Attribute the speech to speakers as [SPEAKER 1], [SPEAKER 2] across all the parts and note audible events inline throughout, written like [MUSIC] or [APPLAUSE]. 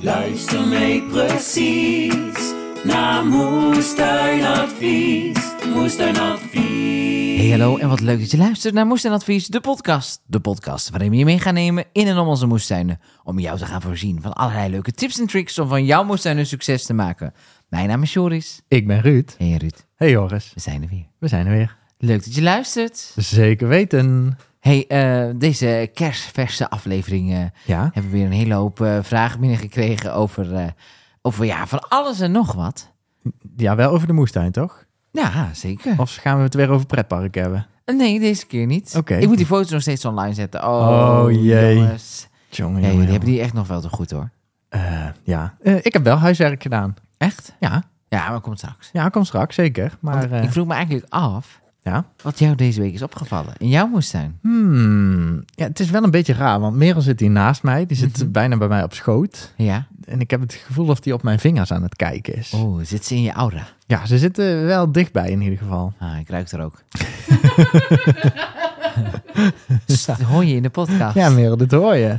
[SPEAKER 1] Luister mee precies naar Moestuinadvies. Moestuinadvies.
[SPEAKER 2] Hey hallo en wat leuk dat je luistert naar Moestuin Advies, de podcast. De podcast waarin we je mee gaan nemen in en om onze moestuinen. Om jou te gaan voorzien van allerlei leuke tips en tricks om van jouw moestuin een succes te maken. Mijn naam is Joris.
[SPEAKER 3] Ik ben Ruud.
[SPEAKER 2] Hey Ruud,
[SPEAKER 3] Hey Joris,
[SPEAKER 2] we zijn er weer.
[SPEAKER 3] we zijn er weer.
[SPEAKER 2] Leuk dat je luistert.
[SPEAKER 3] Zeker weten.
[SPEAKER 2] Hey, eh, deze kerstverse aflevering eh,
[SPEAKER 3] Ja,
[SPEAKER 2] hebben we weer een hele hoop eh, vragen binnengekregen over, eh, over ja, van alles en nog wat.
[SPEAKER 3] ja, wel over de moestuin toch?
[SPEAKER 2] Ja, zeker. Eh,
[SPEAKER 3] Of gaan we het weer over pretpark hebben?
[SPEAKER 2] Nee, deze keer niet.
[SPEAKER 3] Oké.
[SPEAKER 2] Ik moet die foto's nog steeds online zetten. Oh,
[SPEAKER 3] Oh, jee.
[SPEAKER 2] jongens.
[SPEAKER 3] Jongen,
[SPEAKER 2] Hey,
[SPEAKER 3] jongen,
[SPEAKER 2] die hebben
[SPEAKER 3] jongen.
[SPEAKER 2] die echt nog wel te goed hoor.
[SPEAKER 3] Eh, ja, Eh, ik heb wel huiswerk gedaan.
[SPEAKER 2] Echt?
[SPEAKER 3] Ja,
[SPEAKER 2] Ja, maar komt straks.
[SPEAKER 3] ja, kom straks, zeker. Maar
[SPEAKER 2] Want
[SPEAKER 3] eh,
[SPEAKER 2] ik vroeg me eigenlijk af
[SPEAKER 3] ja.
[SPEAKER 2] wat jou deze week is opgevallen in jouw moestuin.
[SPEAKER 3] Hmm. ja, het is wel een beetje raar, want Merel zit hier naast mij. Die zit bijna bij mij op schoot.
[SPEAKER 2] Ja.
[SPEAKER 3] En ik heb het gevoel dat die op mijn vingers aan het kijken is.
[SPEAKER 2] Oh, zit ze in je aura?
[SPEAKER 3] Ja, ze zitten wel dichtbij in ieder geval.
[SPEAKER 2] Ah, ik ruik
[SPEAKER 3] [LAUGHS]
[SPEAKER 2] er ook. Dus dat hoor je in de podcast.
[SPEAKER 3] Ja, Merel, dit hoor je.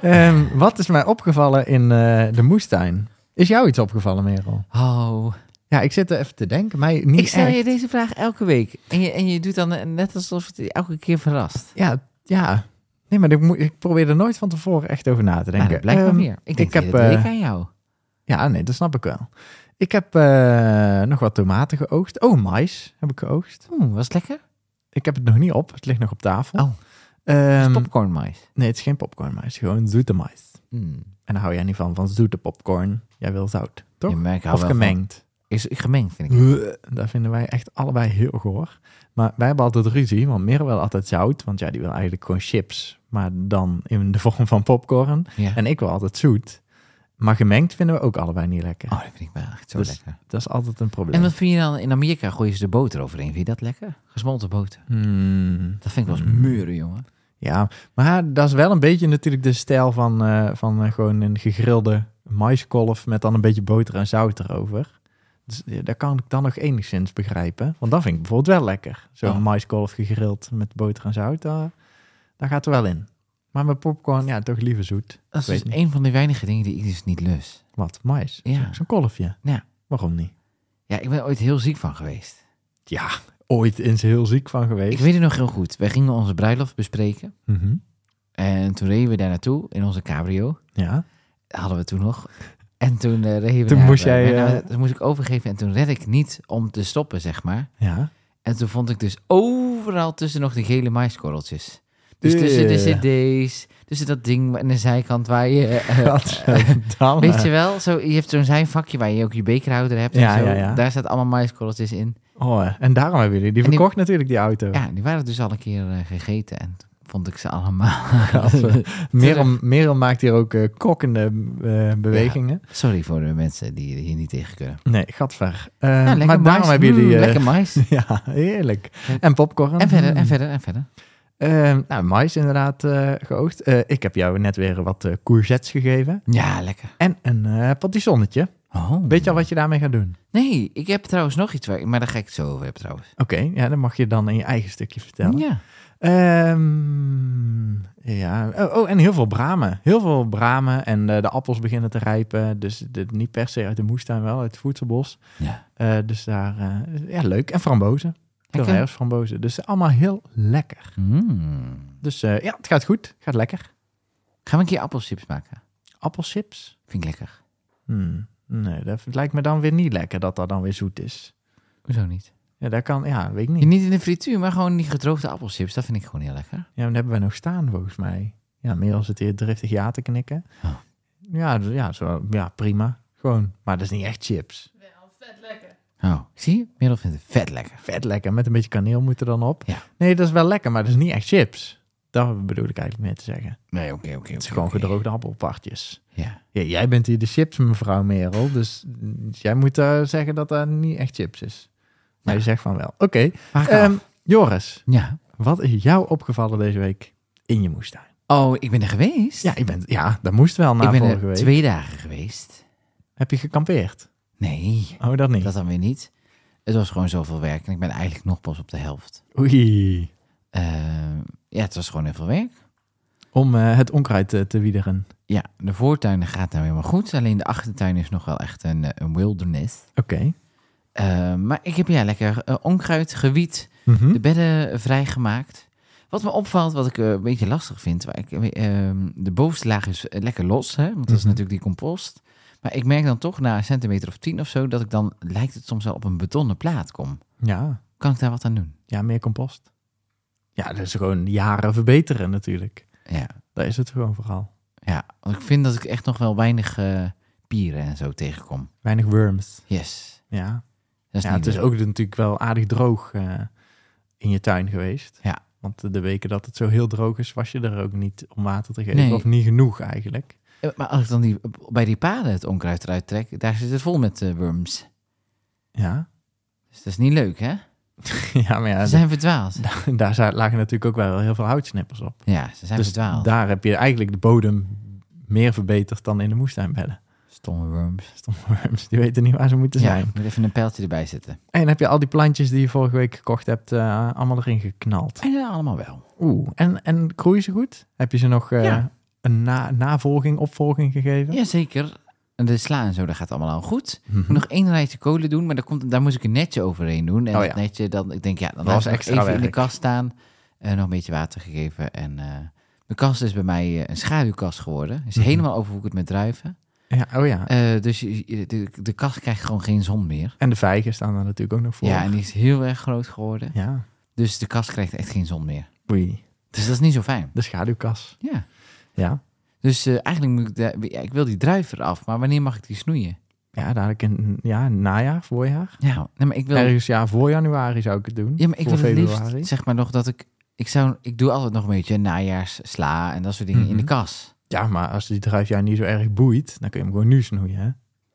[SPEAKER 3] Ehm, wat is mij opgevallen in eh, de moestuin? Is jou iets opgevallen, Merel?
[SPEAKER 2] Oh,
[SPEAKER 3] Ja, ik zit er even te denken. Mij niet
[SPEAKER 2] ik stel
[SPEAKER 3] echt.
[SPEAKER 2] je deze vraag elke week. En je, en je doet dan eh, net alsof het je elke keer verrast.
[SPEAKER 3] Ja, ja. Nee, maar ik, moet- ik probeer er nooit van tevoren echt over na te denken.
[SPEAKER 2] Maar Nou, dat blijkt maar
[SPEAKER 3] Ehm,
[SPEAKER 2] weer. Ik denk
[SPEAKER 3] ik
[SPEAKER 2] dat
[SPEAKER 3] heb,
[SPEAKER 2] het leek
[SPEAKER 3] eh,
[SPEAKER 2] aan jou.
[SPEAKER 3] Ja, nee, dat snap ik wel. Ik heb eh, nog wat tomaten geoogst. Oh, mais heb ik geoogst.
[SPEAKER 2] Oeh, was het lekker?
[SPEAKER 3] Ik heb het nog niet op. Het ligt nog op tafel.
[SPEAKER 2] Oh.
[SPEAKER 3] Ehm,
[SPEAKER 2] Popcorn mais.
[SPEAKER 3] nee, het is geen popcorn mais. Gewoon zoete mais.
[SPEAKER 2] Hmm.
[SPEAKER 3] En daar hou jij niet van, van zoete popcorn. Jij wil zout, toch?
[SPEAKER 2] Ja, maar ik hou
[SPEAKER 3] of
[SPEAKER 2] wel van-
[SPEAKER 3] gemengd.
[SPEAKER 2] Is gemengd, vind ik.
[SPEAKER 3] Bleh, Dat vinden wij echt allebei heel goor. Maar wij hebben altijd ruzie, want Merel wil altijd zout. Want ja, die wil eigenlijk gewoon chips. Maar dan in de [LAUGHS] vorm van popcorn.
[SPEAKER 2] Ja.
[SPEAKER 3] En ik wil altijd zoet. Maar gemengd vinden we ook allebei niet lekker.
[SPEAKER 2] Oh, dat vind ik wel echt zo
[SPEAKER 3] Dus-
[SPEAKER 2] lekker.
[SPEAKER 3] Dat is altijd een probleem.
[SPEAKER 2] En wat vind je dan? In Amerika gooien ze de boter overheen. Vind je dat lekker? Gesmolten boter.
[SPEAKER 3] Hmm,
[SPEAKER 2] Dat vind ik wel eens muren, jongen.
[SPEAKER 3] ja, maar dat is wel een beetje natuurlijk de stijl van, eh, van eh, gewoon een gegrilde maiskolf met dan een beetje boter en zout erover. Dus ja, dat kan ik dan nog enigszins begrijpen. Want dat vind ik bijvoorbeeld wel lekker. Zo'n
[SPEAKER 2] Ja.
[SPEAKER 3] maiskolf gegrild met boter en zout, daar, daar gaat er wel in. Maar met popcorn, ja, toch liever zoet.
[SPEAKER 2] Dat is
[SPEAKER 3] Weet
[SPEAKER 2] dus
[SPEAKER 3] niet.
[SPEAKER 2] een van de weinige dingen die ik dus niet lust.
[SPEAKER 3] Wat, mais?
[SPEAKER 2] Ja.
[SPEAKER 3] Zo- Zo'n kolfje?
[SPEAKER 2] Ja.
[SPEAKER 3] Waarom niet?
[SPEAKER 2] Ja, ik ben er ooit heel ziek van geweest.
[SPEAKER 3] Ja, ooit eens heel ziek van
[SPEAKER 2] Ik
[SPEAKER 3] geweest.
[SPEAKER 2] weet het nog heel goed. Wij gingen onze bruiloft bespreken.
[SPEAKER 3] Mhm.
[SPEAKER 2] En toen reden we daar naartoe in onze cabrio.
[SPEAKER 3] Ja.
[SPEAKER 2] Dat hadden we toen nog. En toen eh, reden we
[SPEAKER 3] Toen
[SPEAKER 2] naar-
[SPEAKER 3] moest jij,
[SPEAKER 2] eh,
[SPEAKER 3] eh,
[SPEAKER 2] toen moest ik overgeven en toen red ik niet om te stoppen, zeg maar.
[SPEAKER 3] Ja.
[SPEAKER 2] En toen vond ik dus overal tussen nog die gele maiskorreltjes. Dus tussen de cd's, tussen dat ding aan de zijkant waar je... eh, eh,
[SPEAKER 3] [LAUGHS] Gadverdamme.
[SPEAKER 2] Weet je wel, zo, je hebt zo'n zijn vakje waar je ook je bekerhouder hebt.
[SPEAKER 3] Ja,
[SPEAKER 2] en zo.
[SPEAKER 3] ja, ja.
[SPEAKER 2] Daar staat allemaal maiskorreltjes in.
[SPEAKER 3] Oh, en daarom hebben jullie die
[SPEAKER 2] En die-
[SPEAKER 3] verkocht natuurlijk, die auto.
[SPEAKER 2] Ja, die waren dus al een keer eh, gegeten en toen vond ik ze
[SPEAKER 3] [LAUGHS]
[SPEAKER 2] allemaal.
[SPEAKER 3] Gadver- Merel, Merel maakt hier ook eh, kokkende eh, bewegingen.
[SPEAKER 2] [LAUGHS] Sorry voor de mensen die hier niet tegen kunnen.
[SPEAKER 3] Nee, gadver. Eh,
[SPEAKER 2] Ja, lekker
[SPEAKER 3] maar daarom
[SPEAKER 2] mais.
[SPEAKER 3] hebben
[SPEAKER 2] Mm,
[SPEAKER 3] jullie... eh, [LAUGHS]
[SPEAKER 2] lekker mais.
[SPEAKER 3] ja, heerlijk. En popcorn. [LAUGHS]
[SPEAKER 2] En verder, en
[SPEAKER 3] Mm.
[SPEAKER 2] verder, en verder.
[SPEAKER 3] Eh, nou, mais inderdaad eh geoogst. Eh, ik heb jou net weer wat eh courgettes gegeven.
[SPEAKER 2] Ja, lekker.
[SPEAKER 3] En een eh patissonnetje.
[SPEAKER 2] Oh.
[SPEAKER 3] Weet je al wat je daarmee gaat doen?
[SPEAKER 2] Nee, ik heb trouwens nog iets, waar, maar daar ga ik het zo over hebben trouwens.
[SPEAKER 3] Oké, ja, dat mag je dan in je eigen stukje vertellen.
[SPEAKER 2] Ja.
[SPEAKER 3] Ehm, ja, oh, oh, en heel veel bramen. Heel veel bramen en eh, de appels beginnen te rijpen. Dus dit niet per se uit de moestuin, wel uit het voedselbos.
[SPEAKER 2] ja.
[SPEAKER 3] Eh, dus daar, eh, ja, leuk. En frambozen. Veel
[SPEAKER 2] Lekker.
[SPEAKER 3] herfstframbozen. Dus allemaal heel lekker.
[SPEAKER 2] Mm.
[SPEAKER 3] Dus eh, ja, het gaat goed. Gaat lekker.
[SPEAKER 2] Gaan we een keer appelchips maken?
[SPEAKER 3] Appelchips?
[SPEAKER 2] Vind ik lekker.
[SPEAKER 3] Hmm, Nee, dat lijkt me dan weer niet lekker dat dat dan weer zoet is.
[SPEAKER 2] Hoezo niet?
[SPEAKER 3] Ja, dat kan, ja, weet ik niet.
[SPEAKER 2] Niet in de frituur, maar gewoon die gedroogde appelchips. Dat vind ik gewoon heel lekker.
[SPEAKER 3] Ja, maar dat hebben we nog staan volgens mij. Ja, Merel zit hier driftig ja te knikken.
[SPEAKER 2] Oh.
[SPEAKER 3] Ja, dus- ja, zo, ja, prima. Gewoon. Maar dat is niet echt chips.
[SPEAKER 2] Oh, zie je? Merel vindt het vet lekker.
[SPEAKER 3] Vet lekker. Met een beetje kaneel moet er dan op.
[SPEAKER 2] Ja.
[SPEAKER 3] Nee, dat is wel lekker, maar dat is niet echt chips. Dat bedoel ik eigenlijk meer te zeggen. Het
[SPEAKER 2] Nee, oké, oké. Het
[SPEAKER 3] is gewoon gedroogde appelpartjes.
[SPEAKER 2] Ja.
[SPEAKER 3] Ja, jij bent hier de chips, mevrouw Merel. Dus mm, jij moet eh, zeggen dat dat niet echt chips is. Maar
[SPEAKER 2] Ja.
[SPEAKER 3] je zegt van wel. Oké.
[SPEAKER 2] Haak af.
[SPEAKER 3] ehm, Joris,
[SPEAKER 2] ja.
[SPEAKER 3] wat is jou opgevallen deze week in je moestuin?
[SPEAKER 2] Oh, ik ben er geweest.
[SPEAKER 3] Ja, ik ben, ja dat moest wel na
[SPEAKER 2] ik ben er
[SPEAKER 3] vorige week.
[SPEAKER 2] twee dagen geweest.
[SPEAKER 3] Heb je gekampeerd?
[SPEAKER 2] Nee,
[SPEAKER 3] Oh, dat niet.
[SPEAKER 2] dat dan weer niet. Het was gewoon zoveel werk en ik ben eigenlijk nog pas op de helft.
[SPEAKER 3] Oei.
[SPEAKER 2] Ehm, ja, het was gewoon heel veel werk.
[SPEAKER 3] om eh, het onkruid eh, te wiederen.
[SPEAKER 2] Ja, de voortuin gaat nou helemaal goed. Alleen de achtertuin is nog wel echt een, eh, een wilderness.
[SPEAKER 3] Oké.
[SPEAKER 2] Eh, maar ik heb ja lekker eh, onkruid, gewiet,
[SPEAKER 3] Mhm.
[SPEAKER 2] de bedden vrijgemaakt. Wat me opvalt, wat ik eh, een beetje lastig vind, waar ik, eh, eh, de bovenste laag is eh, lekker los, hè? want dat is
[SPEAKER 3] Mhm.
[SPEAKER 2] natuurlijk die compost. Maar ik merk dan toch na een centimeter of tien of zo, dat ik dan, lijkt het soms wel op een betonnen plaat kom.
[SPEAKER 3] Ja.
[SPEAKER 2] Kan ik daar wat aan doen?
[SPEAKER 3] ja, meer compost. Ja, dat is gewoon jaren verbeteren natuurlijk.
[SPEAKER 2] Ja,
[SPEAKER 3] Daar is het gewoon vooral.
[SPEAKER 2] ja. want ik vind dat ik echt nog wel weinig eh, pieren en zo tegenkom.
[SPEAKER 3] Weinig worms.
[SPEAKER 2] Yes,
[SPEAKER 3] Ja.
[SPEAKER 2] dat is
[SPEAKER 3] Ja,
[SPEAKER 2] niet
[SPEAKER 3] het is
[SPEAKER 2] leuk.
[SPEAKER 3] ook natuurlijk wel aardig droog eh, in je tuin geweest.
[SPEAKER 2] Ja.
[SPEAKER 3] Want de weken dat het zo heel droog is, was je er ook niet om water te geven.
[SPEAKER 2] Nee.
[SPEAKER 3] Of niet genoeg eigenlijk.
[SPEAKER 2] Eh, Maar als ik dan die, bij die paden het onkruid eruit trek, daar zit het vol met eh, worms.
[SPEAKER 3] Ja, [LAUGHS]
[SPEAKER 2] Dus dat is niet leuk, hè?
[SPEAKER 3] ja maar ja,
[SPEAKER 2] Ze zijn
[SPEAKER 3] [LAUGHS]
[SPEAKER 2] verdwaald.
[SPEAKER 3] daar- daar za- lagen natuurlijk ook wel heel veel houtsnippers op.
[SPEAKER 2] Ja, ze zijn
[SPEAKER 3] dus
[SPEAKER 2] verdwaald.
[SPEAKER 3] daar heb je eigenlijk de bodem meer verbeterd dan in de moestuinbedden. [LAUGHS]
[SPEAKER 2] Stomme worms.
[SPEAKER 3] Stomme worms, die weten niet waar ze moeten
[SPEAKER 2] Ja,
[SPEAKER 3] zijn.
[SPEAKER 2] ik moet even een pijltje erbij zetten.
[SPEAKER 3] En heb je al die plantjes die je vorige week gekocht hebt, eh, allemaal erin geknald?
[SPEAKER 2] En ja, allemaal wel.
[SPEAKER 3] Oeh, en, en groeien ze goed? Heb je ze nog eh,
[SPEAKER 2] Ja.
[SPEAKER 3] een na- navolging, opvolging gegeven?
[SPEAKER 2] Jazeker. En de sla en zo, dat gaat allemaal al goed. Ik
[SPEAKER 3] Mhm.
[SPEAKER 2] moet nog één rijtje kolen doen, maar daar, komt, daar moest ik een netje overheen doen. En
[SPEAKER 3] Oh
[SPEAKER 2] dat
[SPEAKER 3] ja.
[SPEAKER 2] netje, dan, ik denk, ja, dan
[SPEAKER 3] Dat
[SPEAKER 2] laat
[SPEAKER 3] was
[SPEAKER 2] ik nog
[SPEAKER 3] extra
[SPEAKER 2] even in de
[SPEAKER 3] werk.
[SPEAKER 2] kast staan. eh, nog een beetje water gegeven. En eh, de kast is bij mij eh, een schaduwkast geworden. Is
[SPEAKER 3] Mhm.
[SPEAKER 2] helemaal overwoekerd met druiven.
[SPEAKER 3] Ja, oh ja.
[SPEAKER 2] Eh, dus je- je- de, de kast krijgt gewoon geen zon meer.
[SPEAKER 3] En de vijgen staan daar natuurlijk ook nog voor.
[SPEAKER 2] Ja, en die is heel erg groot geworden.
[SPEAKER 3] Ja.
[SPEAKER 2] Dus de kast krijgt echt geen zon meer.
[SPEAKER 3] Oei.
[SPEAKER 2] Dus dat is niet zo fijn.
[SPEAKER 3] De schaduwkas.
[SPEAKER 2] Ja.
[SPEAKER 3] Ja.
[SPEAKER 2] Dus eh, eigenlijk moet ik, de, ja, ik wil die druif eraf, maar wanneer mag ik die snoeien?
[SPEAKER 3] Ja, dadelijk in ja, najaar, voorjaar.
[SPEAKER 2] Ja, nee, maar ik wil,
[SPEAKER 3] Ergens ja, voor januari zou ik het doen.
[SPEAKER 2] ja, maar ik
[SPEAKER 3] voor
[SPEAKER 2] wil het
[SPEAKER 3] februari.
[SPEAKER 2] liefst, zeg maar nog dat ik, ik zou, ik doe altijd nog een beetje najaarssla en dat soort dingen in
[SPEAKER 3] Mhm.
[SPEAKER 2] de kas.
[SPEAKER 3] Ja, maar als die druif jou niet zo erg boeit, dan kun je hem gewoon nu snoeien. Hè?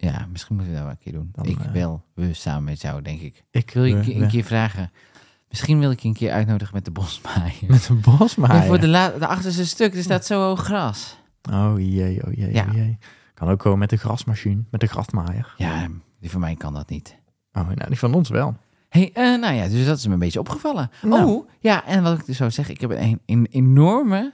[SPEAKER 2] Ja, misschien moeten we dat wel een keer doen.
[SPEAKER 3] Dan,
[SPEAKER 2] ik
[SPEAKER 3] eh,
[SPEAKER 2] wil, we samen met jou, denk ik.
[SPEAKER 3] Ik
[SPEAKER 2] Ik wil je een
[SPEAKER 3] eh,
[SPEAKER 2] keer- een
[SPEAKER 3] eh,
[SPEAKER 2] keer vragen. Misschien wil ik je een keer uitnodigen met de bosmaaier.
[SPEAKER 3] Met een bosmaaier.
[SPEAKER 2] Ja, voor de, la, de achterste stuk, er staat zo hoog gras.
[SPEAKER 3] Oh jee, oh jee,
[SPEAKER 2] Ja.
[SPEAKER 3] oh jee. Kan ook gewoon met de grasmachine, met de grasmaaier.
[SPEAKER 2] Ja, die van mij kan dat niet.
[SPEAKER 3] Oh, nou, die van ons wel.
[SPEAKER 2] Hey, eh, nou ja, dus dat is me een beetje opgevallen.
[SPEAKER 3] Nou.
[SPEAKER 2] Oh, ja, en wat ik dus zou zeggen, ik heb een, een enorme,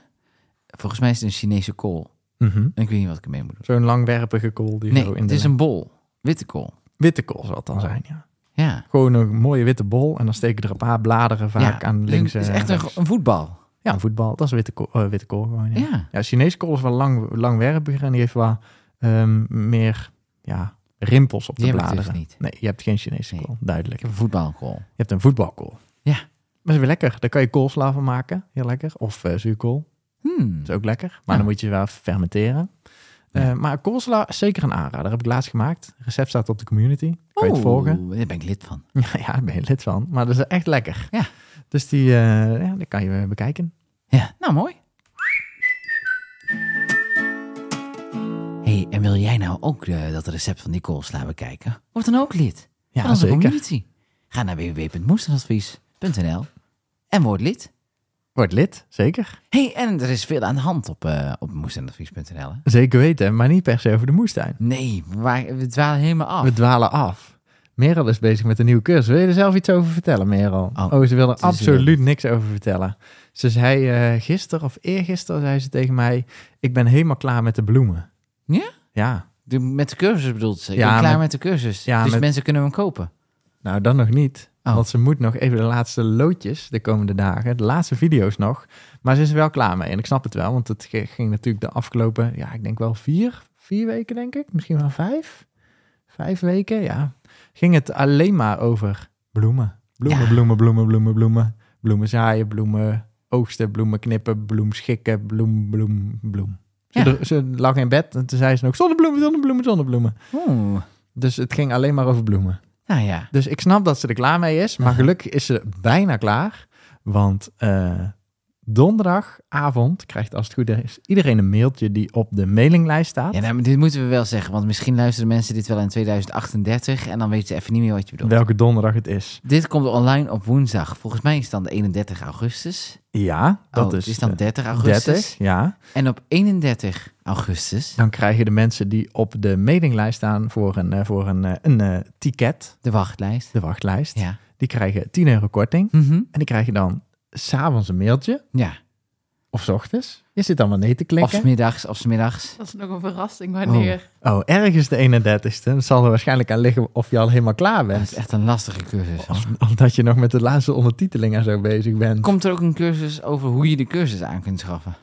[SPEAKER 2] volgens mij is het een Chinese kool.
[SPEAKER 3] Mhm.
[SPEAKER 2] En ik weet niet wat ik ermee moet doen.
[SPEAKER 3] Zo'n langwerpige kool die zo
[SPEAKER 2] Nee,
[SPEAKER 3] in
[SPEAKER 2] het
[SPEAKER 3] de
[SPEAKER 2] is een Oh. bol, witte kool.
[SPEAKER 3] witte kool zal het dan zijn, ja.
[SPEAKER 2] Ja,
[SPEAKER 3] Gewoon een mooie witte bol en dan steken er een paar bladeren vaak
[SPEAKER 2] ja,
[SPEAKER 3] aan
[SPEAKER 2] dus
[SPEAKER 3] links.
[SPEAKER 2] Het is
[SPEAKER 3] en
[SPEAKER 2] echt een,
[SPEAKER 3] rechts.
[SPEAKER 2] een voetbal.
[SPEAKER 3] Ja, een voetbal. Dat is witte kool, eh, witte kool gewoon. Ja.
[SPEAKER 2] Ja,
[SPEAKER 3] Ja, Chinese kool is wel lang, langwerpiger en die heeft wel ehm, meer ja, rimpels op
[SPEAKER 2] Die
[SPEAKER 3] de
[SPEAKER 2] heb ik dus
[SPEAKER 3] bladeren.
[SPEAKER 2] niet.
[SPEAKER 3] Nee, je hebt geen Chinese
[SPEAKER 2] Nee.
[SPEAKER 3] kool, duidelijk.
[SPEAKER 2] ik heb een voetbalkool.
[SPEAKER 3] Je hebt een voetbalkool.
[SPEAKER 2] Ja.
[SPEAKER 3] Maar is weer lekker. Daar kan je koolsla van maken. Heel lekker. Of eh, zuurkool.
[SPEAKER 2] Hmm.
[SPEAKER 3] Dat is ook lekker. Maar
[SPEAKER 2] Ja.
[SPEAKER 3] dan moet je wel fermenteren. Eh,
[SPEAKER 2] Ja.
[SPEAKER 3] maar koolsla is zeker een aanrader. Heb ik laatst gemaakt. Recept staat op de community. Kan je het
[SPEAKER 2] Oeh,
[SPEAKER 3] volgen?
[SPEAKER 2] Oh,
[SPEAKER 3] [LAUGHS]
[SPEAKER 2] Daar ben ik lid van.
[SPEAKER 3] Ja, ja, daar ben je lid van. Maar dat is echt lekker.
[SPEAKER 2] Ja.
[SPEAKER 3] Dus die, eh ja, die kan je eh, bekijken.
[SPEAKER 2] Ja, nou mooi. hey, en wil jij nou ook eh, dat recept van die koolsla bekijken? Word dan ook lid.
[SPEAKER 3] Ja,
[SPEAKER 2] van onze
[SPEAKER 3] zeker.
[SPEAKER 2] community. Ga naar www.moestenadvies.nl en word lid.
[SPEAKER 3] Word lid, zeker.
[SPEAKER 2] hey, en er is veel aan de hand op, eh op moestenadvies.nl. hè?
[SPEAKER 3] Zeker weten, maar niet per se over de moestuin.
[SPEAKER 2] Nee, waar, we dwalen helemaal af.
[SPEAKER 3] We dwalen af. Merel is bezig met een nieuwe cursus. Wil je er zelf iets over vertellen, Merel?
[SPEAKER 2] Oh,
[SPEAKER 3] Oh, ze wil er
[SPEAKER 2] is weer
[SPEAKER 3] absoluut niks over vertellen. Ze zei eh, gisteren of eergisteren zei ze tegen mij... ik ben helemaal klaar met de bloemen.
[SPEAKER 2] Ja?
[SPEAKER 3] Ja.
[SPEAKER 2] De- met de cursus bedoelt ze. Ik
[SPEAKER 3] Ja,
[SPEAKER 2] ben klaar
[SPEAKER 3] met-
[SPEAKER 2] met, de cursus.
[SPEAKER 3] Ja,
[SPEAKER 2] dus
[SPEAKER 3] met-
[SPEAKER 2] mensen kunnen hem kopen.
[SPEAKER 3] Nou, dan nog niet.
[SPEAKER 2] Oh.
[SPEAKER 3] Want ze moet nog even de laatste loodjes de komende dagen, de laatste video's nog. Maar ze is er wel klaar mee. En ik snap het wel, want het ge- ging natuurlijk de afgelopen, ja, ik denk wel vier, vier weken, denk ik. Misschien wel vijf. Vijf weken, ja. Ging het alleen maar over bloemen. Bloemen,
[SPEAKER 2] Ja.
[SPEAKER 3] bloemen, bloemen, bloemen, bloemen. Bloemen zaaien, bloemen oogsten, bloemen knippen, bloem schikken, bloem, bloem, bloem. Ze,
[SPEAKER 2] Ja.
[SPEAKER 3] dro- ze lag in bed en toen zei ze nog zonnebloemen, zonnebloemen, zonnebloemen.
[SPEAKER 2] Oeh.
[SPEAKER 3] Dus het ging alleen maar over bloemen.
[SPEAKER 2] Nou ja.
[SPEAKER 3] Dus ik snap dat ze er klaar mee is, maar gelukkig is ze bijna klaar. Want eh, donderdagavond krijgt, als het goed is, iedereen een mailtje die op de mailinglijst staat.
[SPEAKER 2] ja nou, maar dit moeten we wel zeggen, want misschien luisteren mensen dit wel in 2038 en dan weten ze even niet meer wat je bedoelt.
[SPEAKER 3] welke donderdag het is.
[SPEAKER 2] Dit komt online op woensdag. Volgens mij is het dan de 31 augustus.
[SPEAKER 3] Ja, dat
[SPEAKER 2] Oh,
[SPEAKER 3] is,
[SPEAKER 2] het is dan
[SPEAKER 3] eh,
[SPEAKER 2] 30 augustus.
[SPEAKER 3] 30, ja.
[SPEAKER 2] En op 31 augustus
[SPEAKER 3] Dan krijgen de mensen die op de mailinglijst staan voor een, eh, voor een, eh, een eh, ticket,
[SPEAKER 2] de wachtlijst.
[SPEAKER 3] de wachtlijst,
[SPEAKER 2] Ja.
[SPEAKER 3] die krijgen 10 euro korting.
[SPEAKER 2] Mhm.
[SPEAKER 3] En die krijgen dan s'avonds een mailtje
[SPEAKER 2] Ja.
[SPEAKER 3] Of 's ochtends? Je zit allemaal nee te klikken.
[SPEAKER 2] Of smiddags, of smiddags.
[SPEAKER 4] Dat is nog een verrassing wanneer.
[SPEAKER 3] Oh, ergens de 31ste. Dat zal er waarschijnlijk aan liggen of je al helemaal klaar
[SPEAKER 2] Dat is
[SPEAKER 3] bent.
[SPEAKER 2] echt een lastige cursus. hoor.
[SPEAKER 3] Of- Omdat je nog met de laatste ondertiteling en zo bezig bent.
[SPEAKER 2] Komt er ook een cursus over hoe je de cursus aan kunt [LAUGHS] schaffen?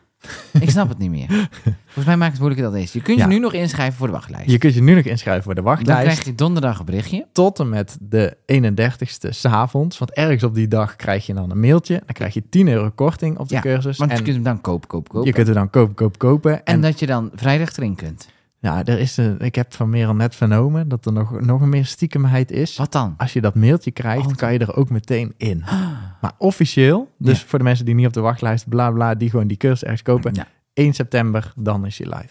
[SPEAKER 2] Ik snap het niet meer. Volgens mij maakt het moeilijker dan deze. Je kunt
[SPEAKER 3] Ja.
[SPEAKER 2] je nu nog inschrijven voor de wachtlijst.
[SPEAKER 3] Je kunt je nu nog inschrijven voor de
[SPEAKER 2] Dan
[SPEAKER 3] wachtlijst.
[SPEAKER 2] krijg je donderdag een berichtje.
[SPEAKER 3] Tot en met de 31ste s'avonds. Want ergens op die dag krijg je dan een mailtje. Dan krijg je 10 euro korting op de
[SPEAKER 2] Ja,
[SPEAKER 3] cursus.
[SPEAKER 2] Want
[SPEAKER 3] en
[SPEAKER 2] je kunt hem dan koop, koop, koop.
[SPEAKER 3] je kunt er dan koop, koop, kopen.
[SPEAKER 2] En
[SPEAKER 3] En,
[SPEAKER 2] dat je dan vrijdag erin kunt.
[SPEAKER 3] nou, er is een, ik heb van Merel net vernomen dat er nog, nog meer stiekemheid is.
[SPEAKER 2] Wat dan?
[SPEAKER 3] Als je dat mailtje krijgt,
[SPEAKER 2] Oh.
[SPEAKER 3] kan je er ook meteen
[SPEAKER 2] [GASPS]
[SPEAKER 3] in. Maar officieel, dus voor de mensen die niet op de wachtlijst, bla bla, die gewoon die cursus ergens kopen.
[SPEAKER 2] Ja.
[SPEAKER 3] 1 september, dan is je live.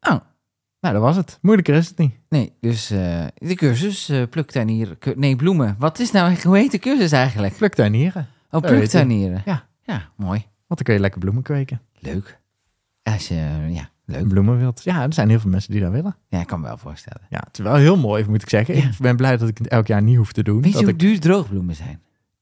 [SPEAKER 2] Hmm. Oh.
[SPEAKER 3] Nou, dat was het. Moeilijker is het niet.
[SPEAKER 2] Nee, dus eh, de cursus eh pluktuinier... cu- nee, bloemen. Wat is nou... Hoe heet de cursus eigenlijk?
[SPEAKER 3] Pluktuinieren.
[SPEAKER 2] Oh,
[SPEAKER 3] Zo heet die.
[SPEAKER 2] pluktuinieren.
[SPEAKER 3] Ja.
[SPEAKER 2] Ja, mooi.
[SPEAKER 3] Want dan kun je lekker bloemen kweken.
[SPEAKER 2] Leuk. Als je... Ja, leuk.
[SPEAKER 3] Bloemen wilt. Ja, er zijn heel veel mensen die dat willen.
[SPEAKER 2] Ja, ik kan me wel voorstellen.
[SPEAKER 3] Ja, het is wel heel mooi, moet ik zeggen.
[SPEAKER 2] Ja.
[SPEAKER 3] Ik ben blij dat ik het elk jaar niet hoef te doen.
[SPEAKER 2] Weet je
[SPEAKER 3] dat
[SPEAKER 2] hoe
[SPEAKER 3] ik
[SPEAKER 2] duur droogbloemen zijn?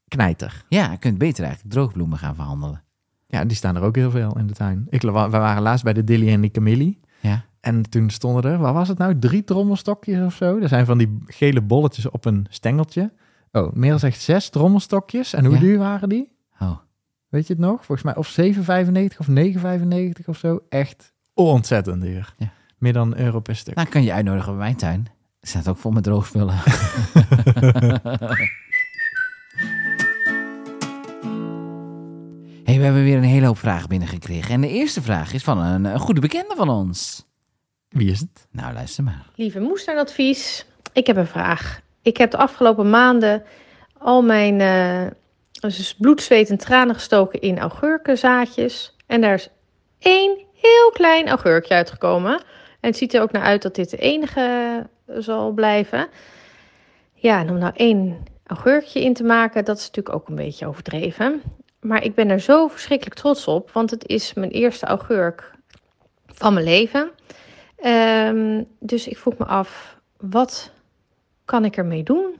[SPEAKER 3] knijter.
[SPEAKER 2] Ja, je kunt beter eigenlijk droogbloemen gaan verhandelen.
[SPEAKER 3] Ja, die staan er ook heel veel in de tuin. Ik, we waren laatst bij de Dilly en de Camille.
[SPEAKER 2] Ja.
[SPEAKER 3] En toen stonden er, wat was het nou, drie trommelstokjes of zo? Er zijn van die gele bolletjes op een stengeltje. Oh, Merel zegt zes trommelstokjes. En hoe
[SPEAKER 2] Ja.
[SPEAKER 3] duur waren die?
[SPEAKER 2] Oh.
[SPEAKER 3] Weet je het nog? Volgens mij of 7,95 of 9,95 of zo. Echt ontzettend duur.
[SPEAKER 2] Ja.
[SPEAKER 3] Meer dan een euro per stuk.
[SPEAKER 2] Nou, ik kan je uitnodigen bij mijn tuin. Er staat ook vol met droogspullen. [LAUGHS] hey, we hebben weer een hele hoop vragen binnengekregen. En de eerste vraag is van een, een goede bekende van ons.
[SPEAKER 3] Wie is het?
[SPEAKER 2] Nou, luister maar.
[SPEAKER 5] Lieve moestuinadvies, ik heb een vraag. Ik heb de afgelopen maanden al mijn eh, z- bloed, zweet en tranen gestoken in augurkenzaadjes. En daar is één heel klein augurkje uitgekomen. En het ziet er ook naar uit dat dit de enige zal blijven. Ja, en om nou één augurkje in te maken, dat is natuurlijk ook een beetje overdreven. Maar ik ben er zo verschrikkelijk trots op, want het is mijn eerste augurk van mijn leven. Ehm, dus ik vroeg me af, wat kan ik ermee doen?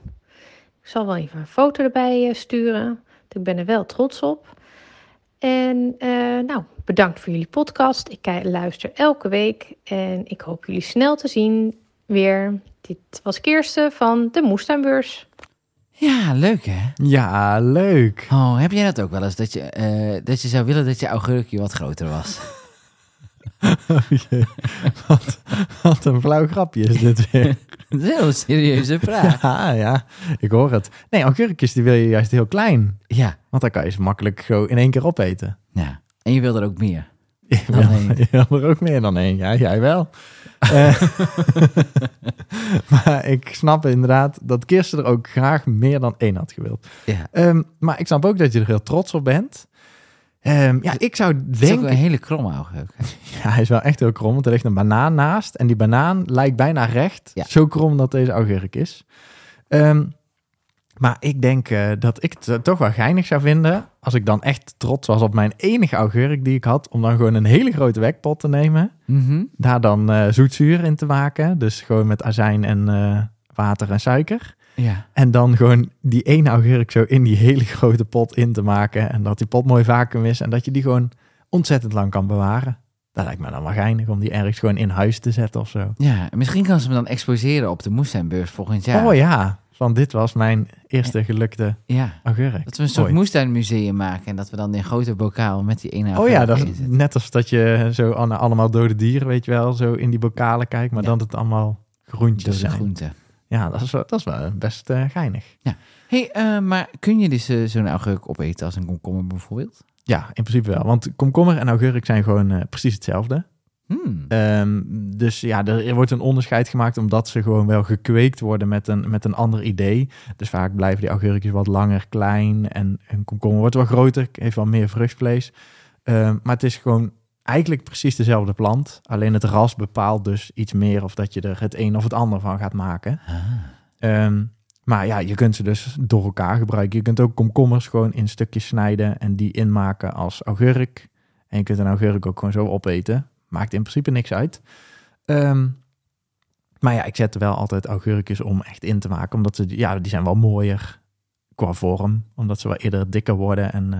[SPEAKER 5] Ik zal wel even een foto erbij eh, sturen. want Ik ben er wel trots op. En eh, nou, bedankt voor jullie podcast. Ik kijk- luister elke week en ik hoop jullie snel te zien weer. Dit was Kirsten van de Moestuinbeurs.
[SPEAKER 2] Ja, leuk hè?
[SPEAKER 3] Ja,
[SPEAKER 2] [LAUGHS]
[SPEAKER 3] leuk.
[SPEAKER 2] Oh, heb jij dat ook wel eens? Dat je, eh, dat je zou willen dat je augurkje wat groter was? [LAUGHS] Oh,
[SPEAKER 3] [LAUGHS] wat, wat een flauw grapje is dit weer.
[SPEAKER 2] dat is een heel serieuze vraag.
[SPEAKER 3] [LAUGHS] Ja, ja, ik hoor het. Nee, augurkjes die wil je juist heel klein.
[SPEAKER 2] Ja,
[SPEAKER 3] Want dan kan je ze makkelijk zo in één keer opeten. [LAUGHS]
[SPEAKER 2] ja. En je wil er ook meer.
[SPEAKER 3] Je wil-
[SPEAKER 2] één.
[SPEAKER 3] je wil er ook meer dan één. Ja, jij
[SPEAKER 2] [LAUGHS]
[SPEAKER 3] wel. Eh, [LAUGHS] maar ik snap inderdaad dat Kirsten er ook graag meer dan één had gewild.
[SPEAKER 2] Ja.
[SPEAKER 3] Ehm, maar ik snap ook dat je er heel trots op bent. Ehm, ja, ik zou
[SPEAKER 2] Het is ook
[SPEAKER 3] denken...
[SPEAKER 2] een hele kromme augurk. hè?
[SPEAKER 3] [LAUGHS] Ja, hij is wel echt heel krom, want er ligt een banaan naast. En die banaan lijkt bijna recht.
[SPEAKER 2] Ja.
[SPEAKER 3] Zo krom dat deze augurk is. Ehm, maar ik denk eh, dat ik het eh, toch wel geinig zou vinden... als ik dan echt trots was op mijn enige augurk die ik had... om dan gewoon een hele grote wekpot te nemen.
[SPEAKER 2] Mhm.
[SPEAKER 3] Daar dan eh, zoetzuur in te maken. Dus gewoon met azijn en eh, water en suiker.
[SPEAKER 2] Ja.
[SPEAKER 3] En dan gewoon die ene augurk zo in die hele [LAUGHS] grote pot in te maken. En dat die pot mooi vacuüm is. En dat je die gewoon ontzettend lang kan bewaren. Dat lijkt me dan wel geinig om die ergens gewoon in huis te zetten of zo.
[SPEAKER 2] Ja, en misschien kan ze me dan exposeren op de moestuinbeurs volgend jaar.
[SPEAKER 3] Oh ja, van dit was mijn eerste gelukte
[SPEAKER 2] Ja.
[SPEAKER 3] augurk.
[SPEAKER 2] Dat we een soort
[SPEAKER 3] Mooi.
[SPEAKER 2] moestuinmuseum maken en dat we dan in een grote bokaal met die ene
[SPEAKER 3] Oh
[SPEAKER 2] augurk
[SPEAKER 3] ja, dat
[SPEAKER 2] erin
[SPEAKER 3] is
[SPEAKER 2] zitten.
[SPEAKER 3] net als dat je zo aan allemaal dode dieren, weet je wel, zo in die bokalen kijkt. Maar
[SPEAKER 2] Ja.
[SPEAKER 3] dan dat het allemaal
[SPEAKER 2] Door
[SPEAKER 3] groentjes
[SPEAKER 2] de
[SPEAKER 3] zijn.
[SPEAKER 2] groente.
[SPEAKER 3] Ja, dat is wel, dat is wel best eh, geinig.
[SPEAKER 2] hey, eh, maar kun je dus eh, zo'n augurk opeten als een komkommer bijvoorbeeld?
[SPEAKER 3] Ja, in principe wel. Want komkommer en augurk zijn gewoon eh, precies hetzelfde.
[SPEAKER 2] Hmm.
[SPEAKER 3] Ehm, dus ja, er wordt een onderscheid gemaakt omdat ze gewoon wel gekweekt worden met een, met een ander idee. Dus vaak blijven die augurkjes wat langer klein en een komkommer wordt wel groter, heeft wel meer vruchtvlees. Ehm, maar het is gewoon eigenlijk precies dezelfde plant. Alleen het ras bepaalt dus iets meer of dat je er het een of het ander van gaat maken. Ehm, maar ja, je kunt ze dus door elkaar gebruiken. Je kunt ook komkommers gewoon in stukjes snijden en die inmaken als augurk. En je kunt een augurk ook gewoon zo opeten. Maakt in principe niks uit. Ehm, maar ja, ik zet er wel altijd augurkjes om echt in te maken. Omdat ze, ja, die zijn wel mooier qua vorm. Omdat ze wel eerder dikker worden. En eh,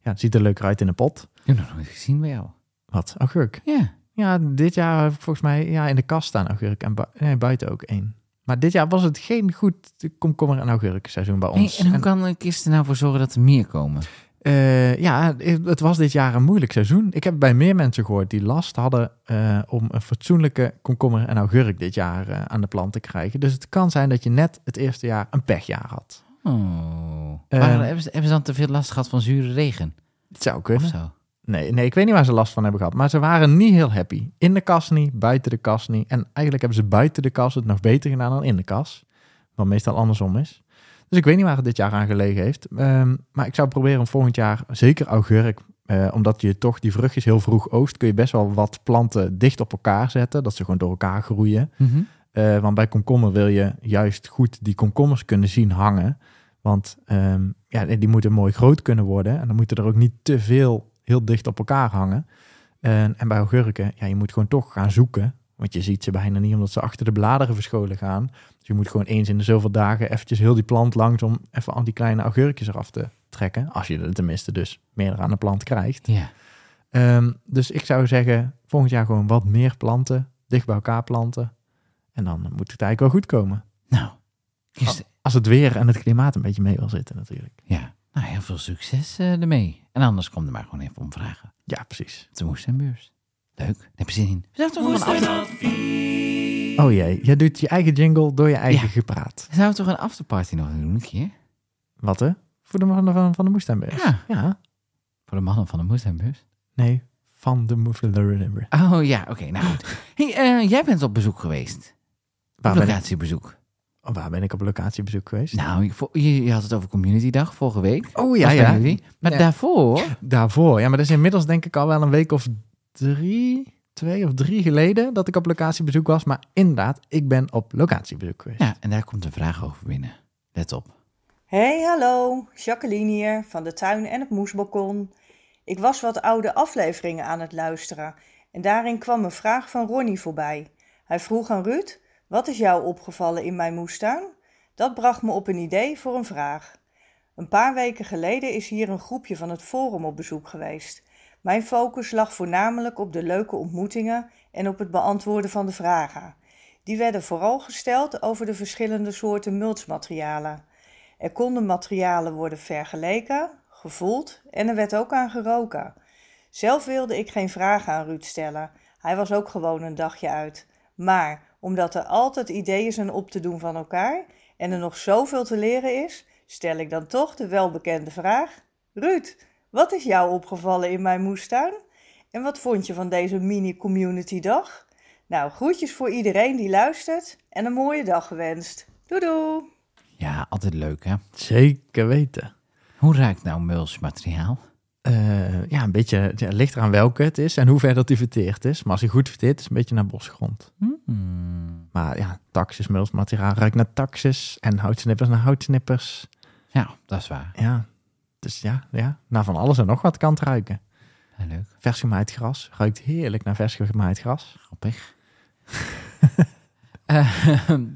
[SPEAKER 3] Ja, het ziet er leuker uit in een pot.
[SPEAKER 2] Ik heb nog nooit gezien bij jou.
[SPEAKER 3] Wat? Augurk.
[SPEAKER 2] Ja.
[SPEAKER 3] Ja, dit jaar heb ik volgens mij ja, in de kast staan augurk en bui- nee, buiten ook één. Maar dit jaar was het geen goed komkommer- en augurkenseizoen bij ons.
[SPEAKER 2] Hey, en hoe kan de kist er nou voor zorgen dat er meer komen?
[SPEAKER 3] Eh, ja, het was dit jaar een moeilijk seizoen. Ik heb bij meer mensen gehoord die last hadden eh, om een fatsoenlijke komkommer en augurk dit jaar eh, aan de plant te krijgen. Dus het kan zijn dat je net het eerste jaar een pechjaar had.
[SPEAKER 2] Oh.
[SPEAKER 3] Eh.
[SPEAKER 2] Waren- hebben, ze, hebben ze dan te veel last gehad van zure regen?
[SPEAKER 3] Het zou
[SPEAKER 2] Of
[SPEAKER 3] kunnen.
[SPEAKER 2] zo?
[SPEAKER 3] Nee, nee, ik weet niet waar ze last van hebben gehad. Maar ze waren niet heel happy. In de kas niet, buiten de kas niet. En eigenlijk hebben ze buiten de kas het nog beter gedaan dan in de kas. Wat meestal andersom is. Dus ik weet niet waar het dit jaar aan gelegen heeft. Ehm, maar ik zou proberen om volgend jaar, zeker augurk, eh, omdat je toch die vruchtjes heel vroeg oogst, kun je best wel wat planten dicht op elkaar zetten. Dat ze gewoon door elkaar groeien.
[SPEAKER 2] Mhm.
[SPEAKER 3] Eh, want bij komkommer wil je juist goed die komkommers kunnen zien hangen. Want ehm, ja, die moeten mooi groot kunnen worden. En dan moeten er ook niet te veel heel dicht op elkaar hangen. En, en bij augurken, ja, je moet gewoon toch gaan zoeken. Want je ziet ze bijna niet omdat ze achter de bladeren verscholen gaan. Dus je moet gewoon eens in de zoveel dagen eventjes heel die plant langs om even al die kleine augurkjes eraf te trekken. Als je er tenminste dus meer aan de plant krijgt.
[SPEAKER 2] Ja.
[SPEAKER 3] Ehm, dus ik zou zeggen, volgend jaar gewoon wat meer planten, dicht bij elkaar planten. En dan moet het eigenlijk wel goed komen.
[SPEAKER 2] Nou, kist,
[SPEAKER 3] Als het weer en het klimaat een beetje mee wil zitten natuurlijk.
[SPEAKER 2] ja. Nou, heel veel succes eh, ermee. En anders kom er maar gewoon even om vragen.
[SPEAKER 3] Ja, precies.
[SPEAKER 2] Op de moestuinbeurs. Leuk. Daar heb je zin in. We zouden toch, gewoon een after-
[SPEAKER 1] Moestuinadvies.
[SPEAKER 3] Oh jee, jij doet je eigen jingle door je eigen
[SPEAKER 2] Ja.
[SPEAKER 3] gepraat.
[SPEAKER 2] zouden we toch een afterparty nog doen een keer?
[SPEAKER 3] Wat hè? Voor de mannen van, van de moestuinbeurs.
[SPEAKER 2] Ja.
[SPEAKER 3] Ja.
[SPEAKER 2] Voor de mannen van de moestuinbeurs.
[SPEAKER 3] Nee, van de moestuinbeurs.
[SPEAKER 2] Oh ja, oké. nou goed. Hey, eh, jij bent op bezoek geweest.
[SPEAKER 3] Waar,
[SPEAKER 2] op
[SPEAKER 3] ben ik-
[SPEAKER 2] locatiebezoek.
[SPEAKER 3] waar ben ik op locatiebezoek geweest?
[SPEAKER 2] Nou, je, vo- je, je had het over Community Dag vorige week.
[SPEAKER 3] oh
[SPEAKER 2] Was bij jullie. Maar
[SPEAKER 3] Ja.
[SPEAKER 2] daarvoor...
[SPEAKER 3] Daarvoor. Ja, maar dat is inmiddels denk ik al wel een week of drie, twee of drie geleden dat ik op locatiebezoek was. Maar inderdaad, ik ben op locatiebezoek geweest.
[SPEAKER 2] Ja, en daar komt een vraag over binnen. Let op.
[SPEAKER 6] Hey, hallo. Jacqueline hier van de tuin en het moesbalkon. Ik was wat oude afleveringen aan het luisteren en daarin kwam een vraag van Ronnie voorbij. Hij vroeg aan Ruud: Wat is jou opgevallen in mijn moestuin? Dat bracht me op een idee voor een vraag. Een paar weken geleden is hier een groepje van het Forum op bezoek geweest. Mijn focus lag voornamelijk op de leuke ontmoetingen en op het beantwoorden van de vragen. Die werden vooral gesteld over de verschillende soorten mulchmaterialen. Er konden materialen worden vergeleken, gevoeld en er werd ook aan geroken. Zelf wilde ik geen vragen aan Ruud stellen. Hij was ook gewoon een dagje uit. Maar omdat er altijd ideeën zijn op te doen van elkaar en er nog zoveel te leren is, stel ik dan toch de welbekende vraag: Ruud, wat is jou opgevallen in mijn moestuin? En wat vond je van deze mini-community dag? Nou, groetjes voor iedereen die luistert en een mooie dag gewenst. Doei doei!
[SPEAKER 2] Ja, altijd leuk hè.
[SPEAKER 3] Zeker weten.
[SPEAKER 2] Hoe ruikt nou mulchmateriaal?
[SPEAKER 3] Eh, ja, een beetje ja, het ligt eraan welke het is en hoe ver dat die verteerd is. Maar als hij goed verteerd is, een beetje naar bosgrond.
[SPEAKER 2] Hmm.
[SPEAKER 3] Maar ja, taxis, mulchmateriaal ruikt naar taxis en houtsnippers naar houtsnippers.
[SPEAKER 2] Ja, dat is waar.
[SPEAKER 3] Ja, dus ja, ja, naar van alles en nog wat kan het ruiken.
[SPEAKER 2] Ja, leuk.
[SPEAKER 3] Vers gemaaid gras ruikt heerlijk naar vers gemaaid gras. [LAUGHS]
[SPEAKER 2] Grappig. [LAUGHS] Eh,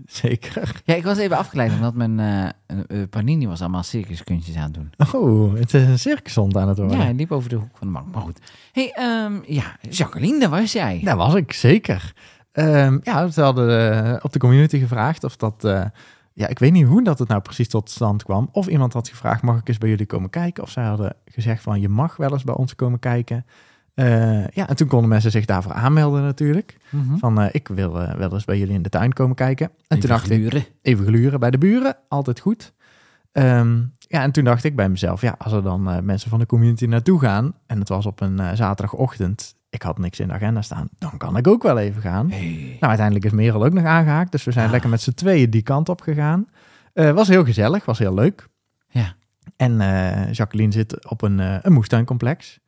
[SPEAKER 3] Zeker.
[SPEAKER 2] ja, ik was even afgeleid omdat mijn eh, eh, Panini was allemaal circuskunstjes aan het doen.
[SPEAKER 3] Oh, het is een circushond aan het worden.
[SPEAKER 2] Ja, hij liep over de hoek van de bank. Maar goed. hey, ehm, ja, Jacqueline, daar was jij.
[SPEAKER 3] Daar was ik, zeker. Ehm, ja, ze hadden eh, op de community gevraagd of dat... eh, ja, ik weet niet hoe dat het nou precies tot stand kwam. Of iemand had gevraagd, mag ik eens bij jullie komen kijken? Of zij hadden gezegd van, je mag wel eens bij ons komen kijken. Eh, ja, en toen konden mensen zich daarvoor aanmelden natuurlijk.
[SPEAKER 2] Mhm.
[SPEAKER 3] Van, eh, ik wil eh, wel eens bij jullie in de tuin komen kijken. En toen dacht ik, dus
[SPEAKER 2] Figuren.
[SPEAKER 3] even gluren bij de buren, altijd goed. Ehm, ja, en toen dacht ik bij mezelf, ja, als er dan eh, mensen van de community naartoe gaan, en het was op een eh, zaterdagochtend, ik had niks in de agenda staan, dan kan ik ook wel even gaan. Nou, uiteindelijk is Merel ook nog aangehaakt, dus we zijn lekker met z'n tweeën die kant op gegaan. Eh, was heel gezellig, was heel leuk.
[SPEAKER 2] Ja.
[SPEAKER 3] En eh, Jacqueline zit op een, eh, een moestuincomplex,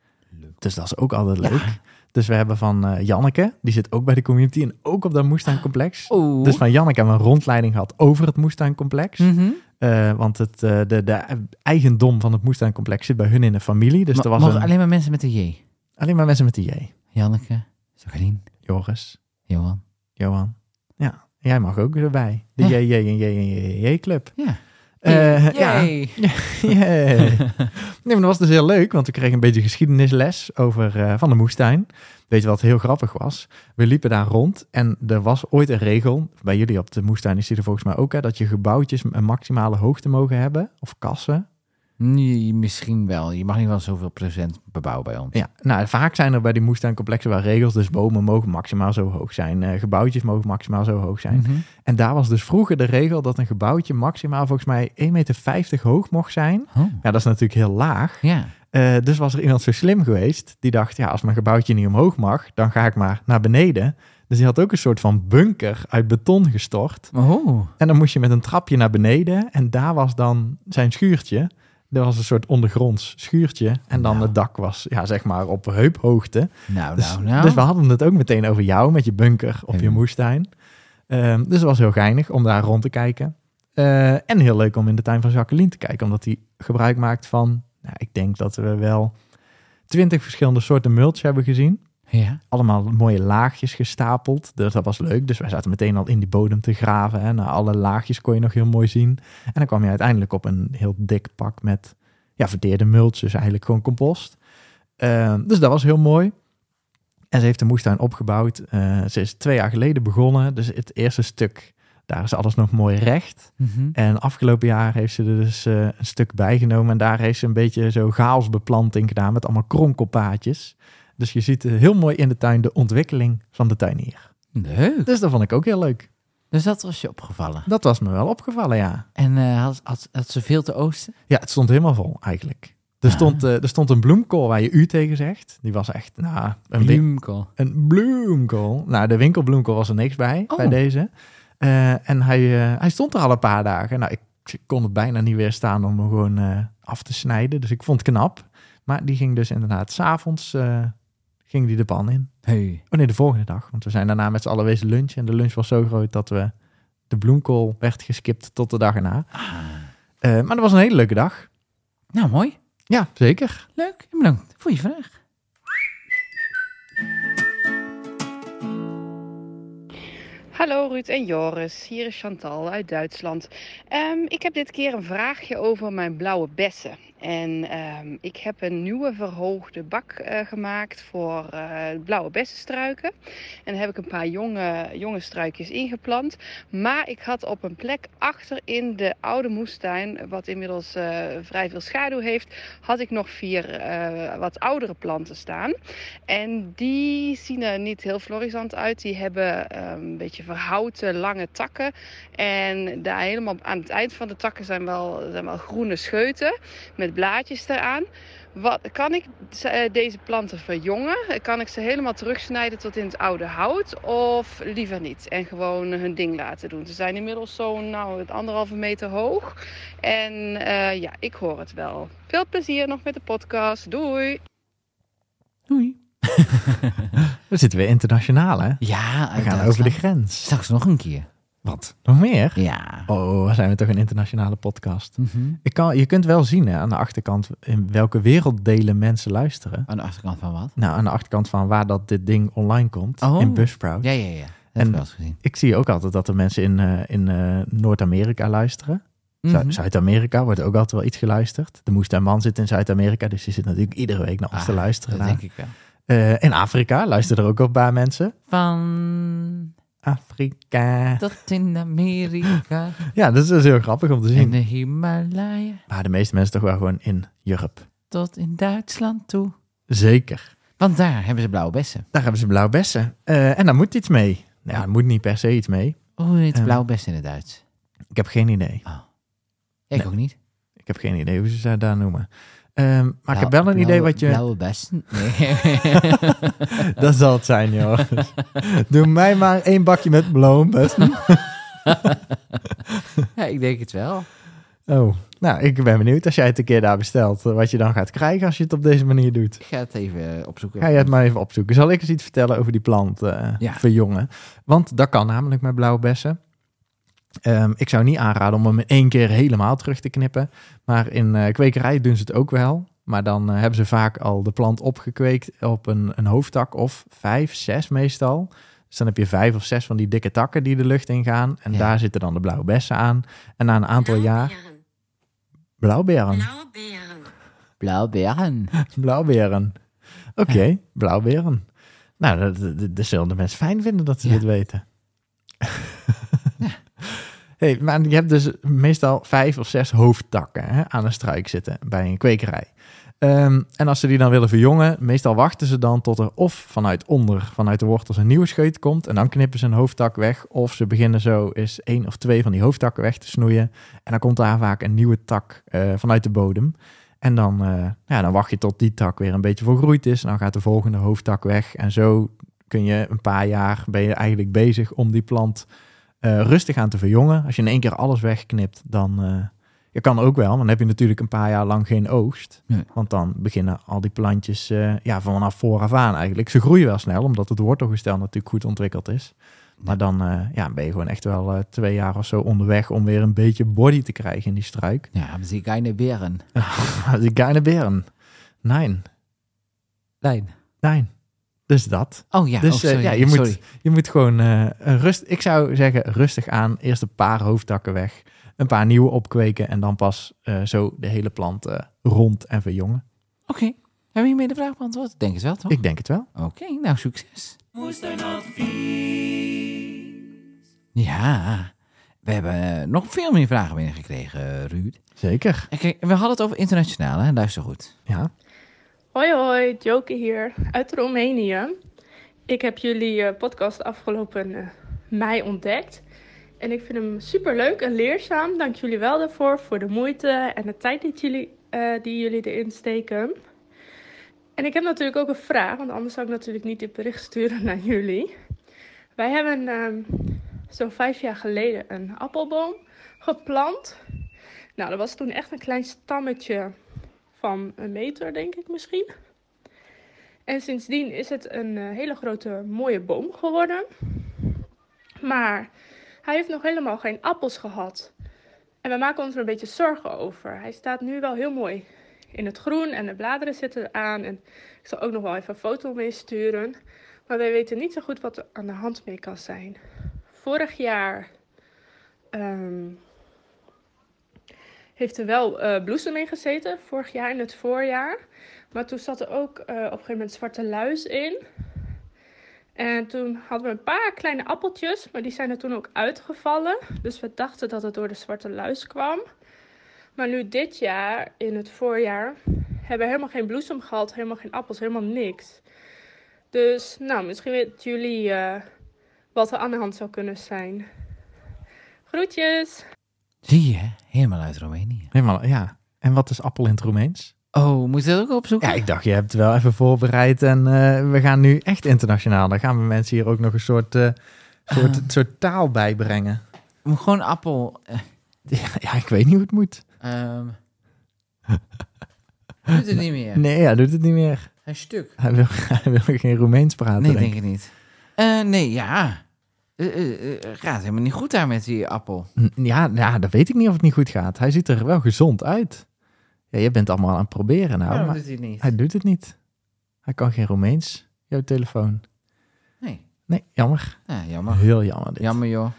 [SPEAKER 3] dus dat is ook altijd leuk. Dus we hebben van eh, Janneke, die zit ook bij de community en ook op dat moestuincomplex.
[SPEAKER 2] Oeh.
[SPEAKER 3] Dus van Janneke hebben we een rondleiding gehad over het moestuincomplex.
[SPEAKER 2] Mhm.
[SPEAKER 3] Eh, want het, eh, de, de eigendom van het moestuincomplex zit bij hun in de familie. Dus
[SPEAKER 2] Ma-
[SPEAKER 3] er was
[SPEAKER 2] mogen
[SPEAKER 3] een- alleen...
[SPEAKER 2] alleen maar mensen met de J.
[SPEAKER 3] maar mensen met de J.
[SPEAKER 2] Janneke, Jacqueline,
[SPEAKER 3] Joris,
[SPEAKER 2] Johan.
[SPEAKER 3] Johan. Ja, jij mag ook erbij. De
[SPEAKER 2] Ja.
[SPEAKER 3] JJ en JJ en JJ club.
[SPEAKER 2] Ja.
[SPEAKER 3] Eh, ja. [LAUGHS]
[SPEAKER 2] Yay.
[SPEAKER 3] Jee. Nee, maar dat was dus heel leuk, want we kregen een beetje geschiedenisles over, eh, van de moestuin. Weet je wat heel grappig was? We liepen daar rond en er was ooit een regel, bij jullie op de moestuin is die er volgens mij ook, hè, dat je gebouwtjes een maximale hoogte mogen hebben, of kassen.
[SPEAKER 2] [LAUGHS] Nee, misschien wel. Je mag niet wel zoveel procent bebouwen bij ons.
[SPEAKER 3] Ja, nou, vaak zijn er bij die moestuincomplexen wel regels, dus bomen mogen maximaal zo hoog zijn, eh, gebouwtjes mogen maximaal zo hoog zijn.
[SPEAKER 2] Mhm.
[SPEAKER 3] En daar was dus vroeger de regel dat een gebouwtje maximaal volgens mij 1,50 meter hoog mocht zijn.
[SPEAKER 2] Oh.
[SPEAKER 3] Ja, dat is natuurlijk heel laag.
[SPEAKER 2] Ja.
[SPEAKER 3] Eh, dus was er iemand zo slim geweest die dacht, ja, als mijn gebouwtje niet omhoog mag, dan ga ik maar naar beneden. Dus die had ook een soort van bunker uit beton gestort.
[SPEAKER 2] Oh.
[SPEAKER 3] En dan moest je met een trapje naar beneden en daar was dan zijn schuurtje. Er was een soort ondergronds schuurtje en dan
[SPEAKER 2] Nou.
[SPEAKER 3] het dak was, ja, zeg maar op heuphoogte.
[SPEAKER 2] Nou,
[SPEAKER 3] Dus,
[SPEAKER 2] nou, nou.
[SPEAKER 3] dus we hadden het ook meteen over jou met je bunker op je
[SPEAKER 2] Ja.
[SPEAKER 3] moestuin. Ehm, dus het was heel geinig om daar rond te kijken. Eh, en heel leuk om in de tuin van Jacqueline te kijken, omdat hij gebruik maakt van, nou, ik denk dat we wel twintig verschillende soorten mulch hebben gezien.
[SPEAKER 2] Ja.
[SPEAKER 3] Allemaal mooie laagjes gestapeld, dus dat was leuk. Dus wij zaten meteen al in die bodem te graven en alle laagjes kon je nog heel mooi zien. En dan kwam je uiteindelijk op een heel dik pak met ja, verteerde mulch, dus eigenlijk gewoon compost. Eh, dus dat was heel mooi. En ze heeft de moestuin opgebouwd. Eh, ze is twee jaar geleden begonnen, dus het eerste stuk, daar is alles nog mooi recht.
[SPEAKER 2] Mhm.
[SPEAKER 3] En afgelopen jaar heeft ze er dus eh, een stuk bijgenomen. En daar heeft ze een beetje zo chaosbeplanting gedaan met allemaal kronkelpaadjes. Dus je ziet eh, heel mooi in de tuin de ontwikkeling van de tuinier.
[SPEAKER 2] Leuk.
[SPEAKER 3] Dus dat vond ik ook heel leuk.
[SPEAKER 2] Dus dat was je opgevallen.
[SPEAKER 3] Dat was me wel opgevallen, ja.
[SPEAKER 2] En eh, had, had, had ze veel te oosten?
[SPEAKER 3] Ja, het stond helemaal vol eigenlijk. Er stond, eh, er stond een bloemkool waar je u tegen zegt. Die was echt, nou, een, win-
[SPEAKER 2] Bloemkool.
[SPEAKER 3] Een bloemkool. Nou, de winkelbloemkool was er niks bij,
[SPEAKER 2] Oh.
[SPEAKER 3] bij deze. Eh, en hij, eh, hij stond er al een paar dagen. Nou, ik kon het bijna niet weerstaan om hem gewoon eh, af te snijden. Dus ik vond het knap. Maar die ging dus inderdaad s'avonds eh ging die de pan in.
[SPEAKER 2] Hey.
[SPEAKER 3] Oh nee, de volgende dag. Want we zijn daarna met z'n allen wezen lunchen. En de lunch was zo groot dat we de bloemkool werd geskipt tot de dag erna. Eh, maar dat was een hele leuke dag.
[SPEAKER 2] Nou, mooi.
[SPEAKER 3] Ja, zeker.
[SPEAKER 2] Leuk. En Bedankt voor je vraag.
[SPEAKER 7] Hallo Ruud en Joris, hier is Chantal uit Duitsland. Ehm, ik heb dit keer een vraagje over mijn blauwe bessen. En ehm, ik heb een nieuwe verhoogde bak eh, gemaakt voor eh, blauwe bessenstruiken. En daar heb ik een paar jonge, jonge struikjes ingeplant. Maar ik had op een plek achter in de oude moestuin, wat inmiddels eh, vrij veel schaduw heeft, had ik nog vier eh, wat oudere planten staan. En die zien er niet heel florissant uit. Die hebben eh, een beetje verhouten, lange takken. En daar helemaal aan het eind van de takken zijn wel, zijn wel groene scheuten met blaadjes eraan. Wat, kan ik ze- eh, deze planten verjongen? Kan ik ze helemaal terugsnijden tot in het oude hout? Of liever niet? En gewoon hun ding laten doen. Ze zijn inmiddels zo'n nou, anderhalve meter hoog. En eh, ja, ik hoor het wel. Veel plezier nog met de podcast. Doei!
[SPEAKER 2] Doei.
[SPEAKER 3] We zitten weer internationaal, hè?
[SPEAKER 2] Ja,
[SPEAKER 3] We
[SPEAKER 2] uit
[SPEAKER 3] gaan over de
[SPEAKER 2] Duitsland.
[SPEAKER 3] grens.
[SPEAKER 2] Straks nog een keer.
[SPEAKER 3] Wat? Nog meer?
[SPEAKER 2] Ja.
[SPEAKER 3] Oh, we zijn we toch een internationale podcast.
[SPEAKER 2] Mhm.
[SPEAKER 3] Ik kan, je kunt wel zien hè, aan de achterkant in welke werelddelen mensen luisteren.
[SPEAKER 2] Aan de achterkant van wat?
[SPEAKER 3] Nou, aan de achterkant van waar dat dit ding online komt,
[SPEAKER 2] Oh.
[SPEAKER 3] in Buzzsprout.
[SPEAKER 2] Ja, ja, ja. Dat heb
[SPEAKER 3] En-
[SPEAKER 2] ik wel eens gezien.
[SPEAKER 3] Ik zie ook altijd dat er mensen in, eh, in eh, Noord-Amerika luisteren. Zu-
[SPEAKER 2] Mhm.
[SPEAKER 3] Zuid-Amerika wordt ook altijd wel iets geluisterd. De moestuinman zit in Zuid-Amerika, dus die zit natuurlijk iedere week naar ons
[SPEAKER 2] Ah,
[SPEAKER 3] te luisteren.
[SPEAKER 2] Dat
[SPEAKER 3] naar.
[SPEAKER 2] denk ik wel.
[SPEAKER 3] Eh, in Afrika luisteren er ook wel een paar mensen.
[SPEAKER 2] Van
[SPEAKER 3] Afrika.
[SPEAKER 2] dat in
[SPEAKER 3] [LAUGHS]
[SPEAKER 2] Amerika
[SPEAKER 3] Ja, dat is dus heel grappig om te zien.
[SPEAKER 2] en eh, de Himalaya
[SPEAKER 3] Maar de meeste mensen toch wel gewoon in Europe.
[SPEAKER 2] tot in Duitsland toe.
[SPEAKER 3] Zeker.
[SPEAKER 2] Want daar hebben ze blauwe bessen.
[SPEAKER 3] Daar hebben ze blauwe bessen. Eh, en daar moet iets mee. Nou, er moet niet per se iets mee.
[SPEAKER 2] Hoe heet
[SPEAKER 3] Ja.
[SPEAKER 2] blauwe bessen in het Duits?
[SPEAKER 3] Ik heb geen idee.
[SPEAKER 2] Ik
[SPEAKER 3] Nee.
[SPEAKER 2] ook niet.
[SPEAKER 3] Ik heb geen idee hoe ze ze daar noemen. Ehm, maar ik heb
[SPEAKER 2] Blauw-
[SPEAKER 3] wel een idee
[SPEAKER 2] blauwe-
[SPEAKER 3] wat je...
[SPEAKER 2] Blauwe bessen? Nee.
[SPEAKER 3] [LAUGHS] Dat zal het zijn,
[SPEAKER 2] [LAUGHS]
[SPEAKER 3] joh. Doe mij maar één bakje met blauwe bessen.
[SPEAKER 2] ja, ik denk het wel.
[SPEAKER 3] Oh, nou, ik ben benieuwd als jij het een keer daar bestelt. eh, Wat je dan gaat krijgen als je het op deze manier doet.
[SPEAKER 2] Ik ga het even eh, opzoeken.
[SPEAKER 3] Ga je het maar even opzoeken. Zal ik eens iets vertellen over die plant eh,
[SPEAKER 2] Ja.
[SPEAKER 3] verjongen? Want dat kan namelijk met blauwe bessen. Ehm, ik zou niet aanraden om hem in één keer helemaal terug te knippen. Maar in eh kwekerij doen ze het ook wel. Maar dan eh, hebben ze vaak al de plant opgekweekt op een, een hoofdtak of vijf, zes meestal. Dus dan heb je vijf of zes van die dikke takken die de lucht ingaan. En
[SPEAKER 2] Ja.
[SPEAKER 3] daar zitten dan de blauwe bessen aan. En na een aantal jaar... Blauwberen.
[SPEAKER 2] Blauwberen.
[SPEAKER 3] Blauwberen. Oké, blauwberen. Nou, dat, dat, dat- dat zullen de mensen fijn vinden dat ze
[SPEAKER 2] Ja.
[SPEAKER 3] dit weten. [LAUGHS] hey, maar je hebt dus meestal vijf of zes hoofdtakken hè, aan een struik zitten bij een kwekerij. Ehm, en als ze die dan willen verjongen, meestal wachten ze dan tot er of vanuit onder, vanuit de wortels, een nieuwe scheut komt. En dan knippen ze een hoofdtak weg. Of ze beginnen zo eens één of twee van die hoofdtakken weg te snoeien. En dan komt daar vaak een nieuwe tak eh, vanuit de bodem. En dan, eh, ja, dan wacht je tot die tak weer een beetje volgroeid is. En dan gaat de volgende hoofdtak weg. En zo kun je een paar jaar ben je eigenlijk bezig om die plant eh, rustig aan te verjongen. Als je in één keer alles wegknipt, dan eh, je kan ook wel. Maar dan heb je natuurlijk een paar jaar lang geen oogst.
[SPEAKER 2] Nee.
[SPEAKER 3] Want dan beginnen al die plantjes eh, ja, vanaf vooraf aan eigenlijk. Ze groeien wel snel, omdat het wortelgestel natuurlijk goed ontwikkeld is. Maar dan eh, ja, ben je gewoon echt wel eh, twee jaar of zo onderweg om weer een beetje body te krijgen in die struik.
[SPEAKER 2] Ja, hebben ze keine beren.
[SPEAKER 3] [LAUGHS] Die kleine beren. Nein.
[SPEAKER 2] Lijn.
[SPEAKER 3] Nee. Dus dat.
[SPEAKER 2] Oh ja,
[SPEAKER 3] dus
[SPEAKER 2] oh,
[SPEAKER 3] eh,
[SPEAKER 2] sorry,
[SPEAKER 3] ja, je,
[SPEAKER 2] sorry.
[SPEAKER 3] moet, je moet gewoon eh, een rust. Ik zou zeggen, rustig aan. Eerst een paar hoofdtakken weg. Een paar nieuwe opkweken. En dan pas eh, zo de hele plant eh, rond en verjongen.
[SPEAKER 2] Oké, hebben we hiermee de vraag beantwoord? Ik Denk het wel, toch?
[SPEAKER 3] Ik denk het wel.
[SPEAKER 2] Oké, nou succes.
[SPEAKER 1] Moesternadvies.
[SPEAKER 2] Ja, we hebben eh, nog veel meer vragen binnengekregen, eh, Ruud.
[SPEAKER 3] Zeker.
[SPEAKER 2] En kijk, we hadden het over internationaal, hè? Luister goed.
[SPEAKER 3] Ja.
[SPEAKER 8] Hoi hoi, Joke hier uit Roemenië. Ik heb jullie eh, podcast afgelopen eh, mei ontdekt. En ik vind hem super leuk en leerzaam. Dank jullie wel daarvoor, voor de moeite en de tijd die jullie, eh, die jullie erin steken. En ik heb natuurlijk ook een vraag, want anders zou ik natuurlijk niet dit bericht sturen [LAUGHS] naar jullie. Wij hebben ehm, zo'n vijf jaar geleden een appelboom geplant. Nou, dat was toen echt een klein stammetje van een meter, denk ik misschien. En sindsdien is het een eh, hele grote, mooie boom geworden. Maar hij heeft nog helemaal geen appels gehad. En we maken ons er een beetje zorgen over. Hij staat nu wel heel mooi in het groen en de bladeren zitten eraan. En ik zal ook nog wel even een foto mee sturen. Maar wij weten niet zo goed wat er aan de hand mee kan zijn. Vorig jaar ehm, heeft er wel eh, bloesem in gezeten, vorig jaar in het voorjaar. Maar toen zat er ook eh, op een gegeven moment zwarte luis in. En toen hadden we een paar kleine appeltjes, maar die zijn er toen ook uitgevallen. Dus we dachten dat het door de zwarte luis kwam. Maar nu dit jaar, in het voorjaar, hebben we helemaal geen bloesem gehad, helemaal geen appels, helemaal niks. Dus nou, misschien weten jullie eh, wat er aan de hand zou kunnen zijn. Groetjes!
[SPEAKER 2] Zie je, helemaal uit Roemenië.
[SPEAKER 3] Helemaal, ja. En wat is appel in het Roemeens?
[SPEAKER 2] Oh, moet je dat ook opzoeken?
[SPEAKER 3] Ja, ik dacht, je hebt het wel even voorbereid. En eh, we gaan nu echt internationaal. Dan gaan we mensen hier ook nog een soort, eh, soort, soort taal bijbrengen.
[SPEAKER 2] Gewoon appel. eh,
[SPEAKER 3] Ja, ik weet niet hoe het moet.
[SPEAKER 2] [LAUGHS] ehm. Doet het niet meer.
[SPEAKER 3] Nee, hij doet het niet meer.
[SPEAKER 2] Hij is stuk.
[SPEAKER 3] Hij wil, [LAUGHS] hij wil geen Roemeens praten.
[SPEAKER 2] Nee,
[SPEAKER 3] denk
[SPEAKER 2] denk
[SPEAKER 3] ik.
[SPEAKER 2] ik niet. Eh, nee, ja. Eh, eh, eh, gaat helemaal niet goed daar met die appel.
[SPEAKER 3] N- Hm. Ja, ja, dat weet ik niet of het niet goed gaat. Hij ziet er wel gezond uit. Ja, je bent allemaal aan het proberen nou,
[SPEAKER 2] Waarom
[SPEAKER 3] maar
[SPEAKER 2] doet hij het niet?
[SPEAKER 3] hij doet het niet. Hij kan geen Roemeens, jouw telefoon.
[SPEAKER 2] Nee.
[SPEAKER 3] Nee, jammer.
[SPEAKER 2] Ja, jammer.
[SPEAKER 3] Heel jammer dit.
[SPEAKER 2] Jammer, joh.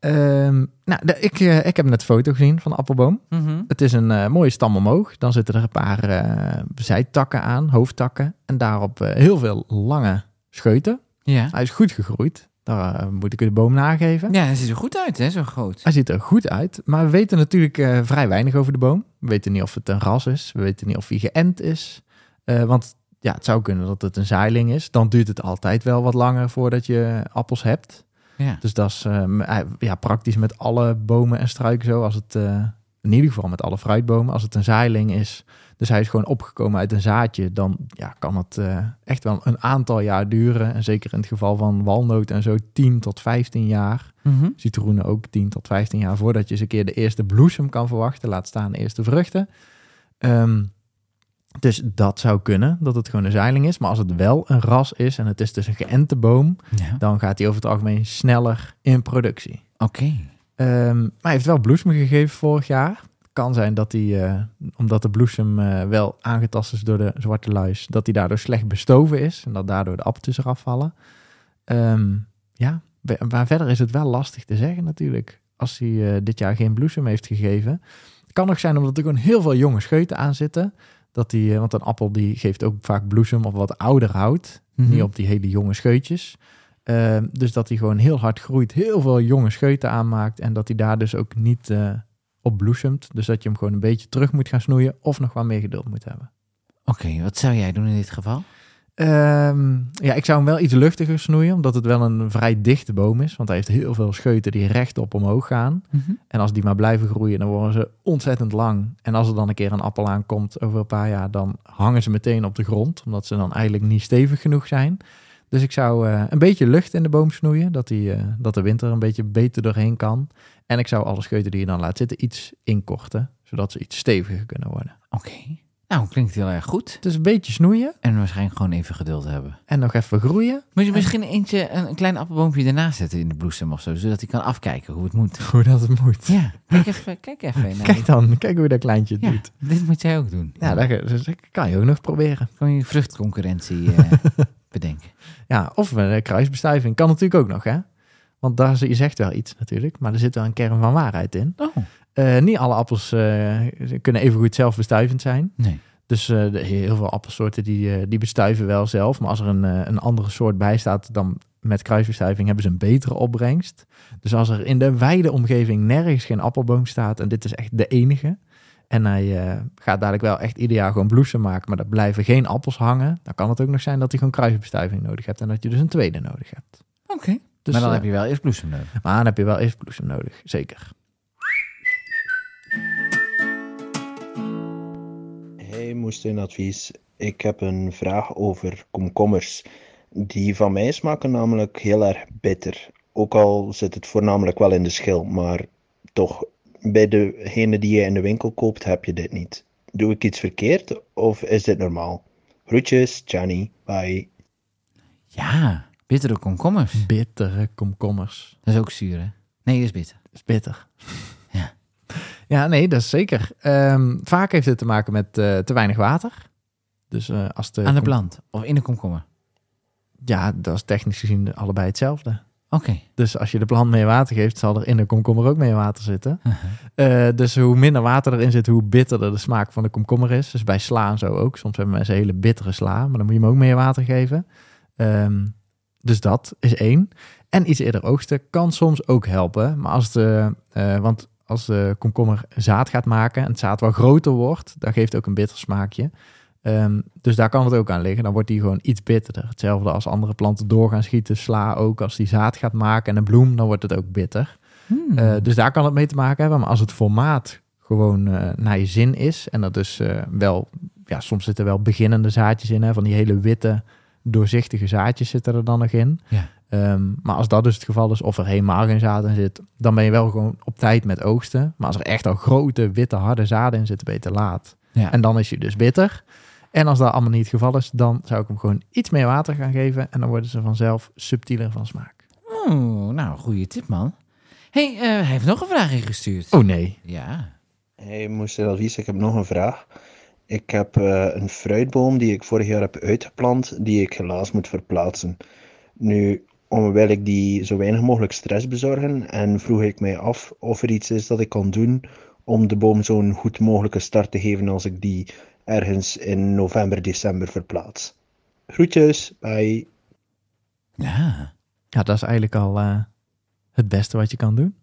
[SPEAKER 3] Ehm, nou, de- ik, eh, ik heb net een foto gezien van de appelboom.
[SPEAKER 2] Mhm.
[SPEAKER 3] Het is een eh, mooie stam omhoog. Dan zitten er een paar eh, zijtakken aan, hoofdtakken. En daarop eh, heel veel lange scheuten.
[SPEAKER 2] Ja.
[SPEAKER 3] Hij is goed gegroeid. Daar eh, moet ik de boom nageven.
[SPEAKER 2] Ja, hij ziet er goed uit, hè, zo groot.
[SPEAKER 3] Hij ziet er goed uit, maar we weten natuurlijk eh, vrij weinig over de boom. We weten niet of het een ras is, we weten niet of hij geënt is. Eh, want ja, het zou kunnen dat het een zaailing is. Dan duurt het altijd wel wat langer voordat je appels hebt.
[SPEAKER 2] Ja.
[SPEAKER 3] Dus dat is ehm, eh, ja, praktisch met alle bomen en struiken zo. Als het, eh, in ieder geval met alle fruitbomen, als het een zaailing is. Dus hij is gewoon opgekomen uit een zaadje. Dan ja, kan het eh, echt wel een aantal jaar duren. En zeker in het geval van walnoot en zo 10 tot 15 jaar
[SPEAKER 2] Mhm.
[SPEAKER 3] citroenen ook 10 tot 15 jaar voordat je eens een keer de eerste bloesem kan verwachten. Laat staan de eerste vruchten. Ehm, dus dat zou kunnen, dat het gewoon een zeiling is. Maar als het wel een ras is en het is dus een geënte boom,
[SPEAKER 2] Ja.
[SPEAKER 3] dan gaat hij over het algemeen sneller in productie.
[SPEAKER 2] Oké.
[SPEAKER 3] Ehm, maar hij heeft wel bloesem gegeven vorig jaar. Kan zijn dat hij, eh, omdat de bloesem eh, wel aangetast is door de zwarte luis, dat hij daardoor slecht bestoven is en dat daardoor de appeltjes eraf vallen. Ehm, ja, we- maar verder is het wel lastig te zeggen natuurlijk. Als hij eh, dit jaar geen bloesem heeft gegeven. Het kan nog zijn omdat er gewoon heel veel jonge scheuten aan zitten. Dat die, eh, want een appel die geeft ook vaak bloesem op wat ouder hout.
[SPEAKER 2] Mhm.
[SPEAKER 3] Niet op die hele jonge scheutjes. Ehm, dus dat die gewoon heel hard groeit, heel veel jonge scheuten aanmaakt. En dat die daar dus ook niet eh, op bloesemt. Dus dat je hem gewoon een beetje terug moet gaan snoeien. Of nog wat meer geduld moet hebben.
[SPEAKER 2] Oké, wat zou jij doen in dit geval?
[SPEAKER 3] Ehm, ja, ik zou hem wel iets luchtiger snoeien, omdat het wel een vrij dichte boom is. Want hij heeft heel veel scheuten die rechtop omhoog gaan. En als die maar blijven groeien, dan worden ze ontzettend lang. En als er dan een keer een appel aankomt over een paar jaar, dan hangen ze meteen op de grond. Omdat ze dan eigenlijk niet stevig genoeg zijn. Dus ik zou eh, een beetje lucht in de boom snoeien, dat, die, eh, dat de winter een beetje beter doorheen kan. En ik zou alle scheuten die je dan laat zitten iets inkorten, zodat ze iets steviger kunnen worden.
[SPEAKER 2] Oké. Nou, klinkt heel erg goed.
[SPEAKER 3] Dus een beetje snoeien
[SPEAKER 2] En waarschijnlijk gewoon even geduld hebben.
[SPEAKER 3] en nog even groeien.
[SPEAKER 2] Moet je misschien eentje, een, een klein appelboompje ernaast zetten in de bloesem of zo, zodat hij kan afkijken hoe het
[SPEAKER 3] [LAUGHS]
[SPEAKER 2] moet.
[SPEAKER 3] Voordat het moet.
[SPEAKER 2] Ja, kijk even, kijk even. naar-
[SPEAKER 3] [LAUGHS] Kijk dan, kijk hoe dat kleintje het
[SPEAKER 2] ja,
[SPEAKER 3] doet.
[SPEAKER 2] dit moet jij ook doen.
[SPEAKER 3] Ja, dat, dat kan je ook nog proberen.
[SPEAKER 2] kan je vruchtconcurrentie
[SPEAKER 3] [LAUGHS]
[SPEAKER 2] eh, bedenken.
[SPEAKER 3] Ja, of een eh, kruisbestuiving kan natuurlijk ook nog, hè? Want daar, je zegt wel iets natuurlijk, maar er zit wel een kern van waarheid in.
[SPEAKER 2] Oh,
[SPEAKER 3] Eh, niet alle appels eh, kunnen even goed zelfbestuivend zijn.
[SPEAKER 2] nee.
[SPEAKER 3] Dus eh, de- heel veel appelsoorten die, eh, die bestuiven wel zelf. Maar als er een, eh, een andere soort bij staat dan met kruisbestuiving, hebben ze een betere opbrengst. Dus als er in de wijde omgeving nergens geen appelboom staat en dit is echt de enige. En hij eh, gaat dadelijk wel echt ieder jaar gewoon bloesem maken, maar er blijven geen appels hangen. Dan kan het ook nog zijn dat hij gewoon kruisbestuiving nodig hebt en dat je dus een tweede nodig hebt.
[SPEAKER 2] Oké.
[SPEAKER 3] Dus,
[SPEAKER 2] maar dan
[SPEAKER 3] eh,
[SPEAKER 2] heb je wel eerst bloesem nodig.
[SPEAKER 3] maar dan heb je wel eerst bloesem nodig, zeker.
[SPEAKER 9] Hey, moestuinadvies. Ik heb een vraag over komkommers. Die van mij smaken namelijk heel erg bitter. Ook al zit het voornamelijk wel in de schil, maar toch, bij degene die je in de winkel koopt, heb je dit niet. Doe ik iets verkeerd of is dit normaal? Groetjes, Gianni. Bye.
[SPEAKER 2] Ja, bittere komkommers.
[SPEAKER 3] Bittere komkommers.
[SPEAKER 2] Dat is ook zuur, hè? Nee, dat is bitter.
[SPEAKER 3] is
[SPEAKER 2] [LAUGHS]
[SPEAKER 3] bitter.
[SPEAKER 2] Ja.
[SPEAKER 3] Ja, nee, dat is zeker. Ehm, vaak heeft het te maken met eh, te weinig water. Dus eh, als de
[SPEAKER 2] Aan de
[SPEAKER 3] kom-
[SPEAKER 2] plant of in de komkommer.
[SPEAKER 3] Ja, dat is technisch gezien allebei hetzelfde.
[SPEAKER 2] Oké.
[SPEAKER 3] Dus als je de plant meer water geeft, zal er in de komkommer ook meer water zitten. Eh, dus hoe minder water erin zit, hoe bitterder de smaak van de komkommer is. Dus bij sla en zo ook. Soms hebben mensen hele bittere sla, maar dan moet je hem ook meer water geven. Ehm, dus dat is één. En iets eerder oogsten kan soms ook helpen. Maar als de, eh, want als de komkommer zaad gaat maken en het zaad wel groter wordt, dat geeft ook een bitter smaakje. Ehm, dus daar kan het ook aan liggen. Dan wordt die gewoon iets bitterder. Hetzelfde als andere planten door gaan schieten. Sla ook. Als die zaad gaat maken en een bloem, dan wordt het ook bitter.
[SPEAKER 2] Hmm.
[SPEAKER 3] Eh, dus daar kan het mee te maken hebben. Maar als het formaat gewoon eh, naar je zin is. En dat is eh, wel, ja, soms zitten wel beginnende zaadjes in. Hè, van die hele witte, doorzichtige zaadjes zitten er dan nog in.
[SPEAKER 2] Ja.
[SPEAKER 3] Ehm, maar als dat dus het geval is, of er helemaal geen zaad in zit, dan ben je wel gewoon op tijd met oogsten. Maar als er echt al grote, witte, harde zaden in zitten, ben je te laat.
[SPEAKER 2] ja.
[SPEAKER 3] En dan is hij dus bitter. En als dat allemaal niet het geval is, dan zou ik hem gewoon iets meer water gaan geven. En dan worden ze vanzelf subtieler van smaak.
[SPEAKER 2] Oh, nou, goede tip, man. hey, eh, hij heeft nog een vraag ingestuurd.
[SPEAKER 3] Oh nee.
[SPEAKER 2] Ja.
[SPEAKER 9] Hey, moestuinadvies. Ik heb nog een vraag. Ik heb eh, een fruitboom die ik vorig jaar heb uitgeplant, die ik helaas moet verplaatsen. Nu, omwille ik die zo weinig mogelijk stress bezorgen en vroeg ik mij af of er iets is dat ik kan doen om de boom zo'n goed mogelijke start te geven als ik die ergens in november, december verplaats. Groetjes, bye.
[SPEAKER 2] Ja.
[SPEAKER 3] Ja, dat is eigenlijk al eh, het beste wat je kan doen.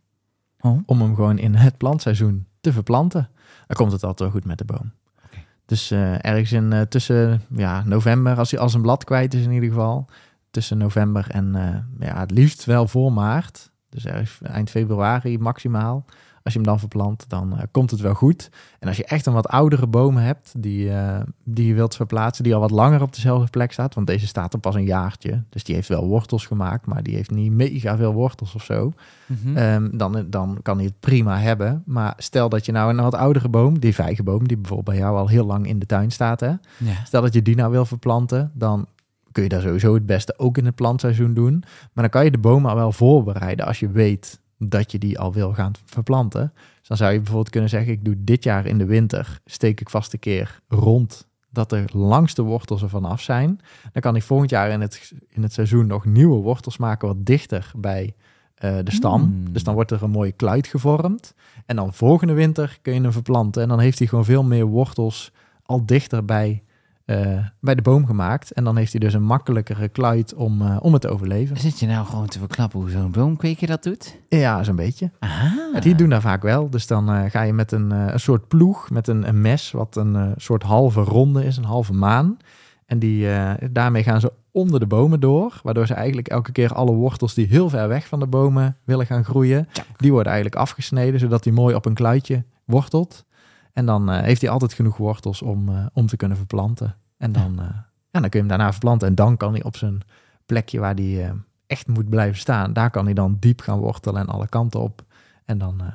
[SPEAKER 2] Oh.
[SPEAKER 3] Om hem gewoon in het plantseizoen te verplanten. Dan komt het altijd wel goed met de boom.
[SPEAKER 2] Oké.
[SPEAKER 3] Dus eh, ergens in, eh, tussen ja, november, als hij als een blad kwijt is in ieder geval. Tussen november en eh, ja, het liefst wel voor maart. Dus ergens eind februari maximaal. Als je hem dan verplant, dan eh, komt het wel goed. En als je echt een wat oudere boom hebt die, eh, die je wilt verplaatsen, die al wat langer op dezelfde plek staat, want deze staat er pas een jaartje. Dus die heeft wel wortels gemaakt, maar die heeft niet mega veel wortels of zo.
[SPEAKER 2] Mhm.
[SPEAKER 3] Ehm, dan, dan kan hij het prima hebben. Maar stel dat je nou een wat oudere boom, die vijgenboom, die bijvoorbeeld bij jou al heel lang in de tuin staat, hè?
[SPEAKER 2] ja.
[SPEAKER 3] Stel dat je die nou wil verplanten, dan kun je daar sowieso het beste ook in het plantseizoen doen. Maar dan kan je de bomen al wel voorbereiden als je weet dat je die al wil gaan verplanten. Dus dan zou je bijvoorbeeld kunnen zeggen, ik doe dit jaar in de winter, steek ik vast een keer rond dat de langste wortels er vanaf zijn. Dan kan ik volgend jaar in het, in het seizoen nog nieuwe wortels maken wat dichter bij eh, de stam.
[SPEAKER 2] Hmm.
[SPEAKER 3] Dus dan wordt er een mooie kluit gevormd. En dan volgende winter kun je hem verplanten en dan heeft hij gewoon veel meer wortels al dichter bij, eh, bij de boom gemaakt. En dan heeft hij dus een makkelijkere kluit om, eh, om het te overleven.
[SPEAKER 2] Zit je nou gewoon te verklappen hoe zo'n boomkweker dat doet?
[SPEAKER 3] Ja, zo'n beetje.
[SPEAKER 2] Aha.
[SPEAKER 3] Ja, die doen dat vaak wel. Dus dan eh, ga je met een, eh, een soort ploeg, met een, een mes, wat een eh, soort halve ronde is, een halve maan. En die, eh, daarmee gaan ze onder de bomen door, waardoor ze eigenlijk elke keer alle wortels die heel ver weg van de bomen willen gaan groeien, die worden eigenlijk afgesneden, zodat die mooi op een kluitje wortelt. En dan eh, heeft hij altijd genoeg wortels om, eh, om te kunnen verplanten. En dan, eh, ja, dan kun je hem daarna verplanten. En dan kan hij op zijn plekje waar hij eh, echt moet blijven staan, daar kan hij dan diep gaan wortelen en alle kanten op. En dan eh,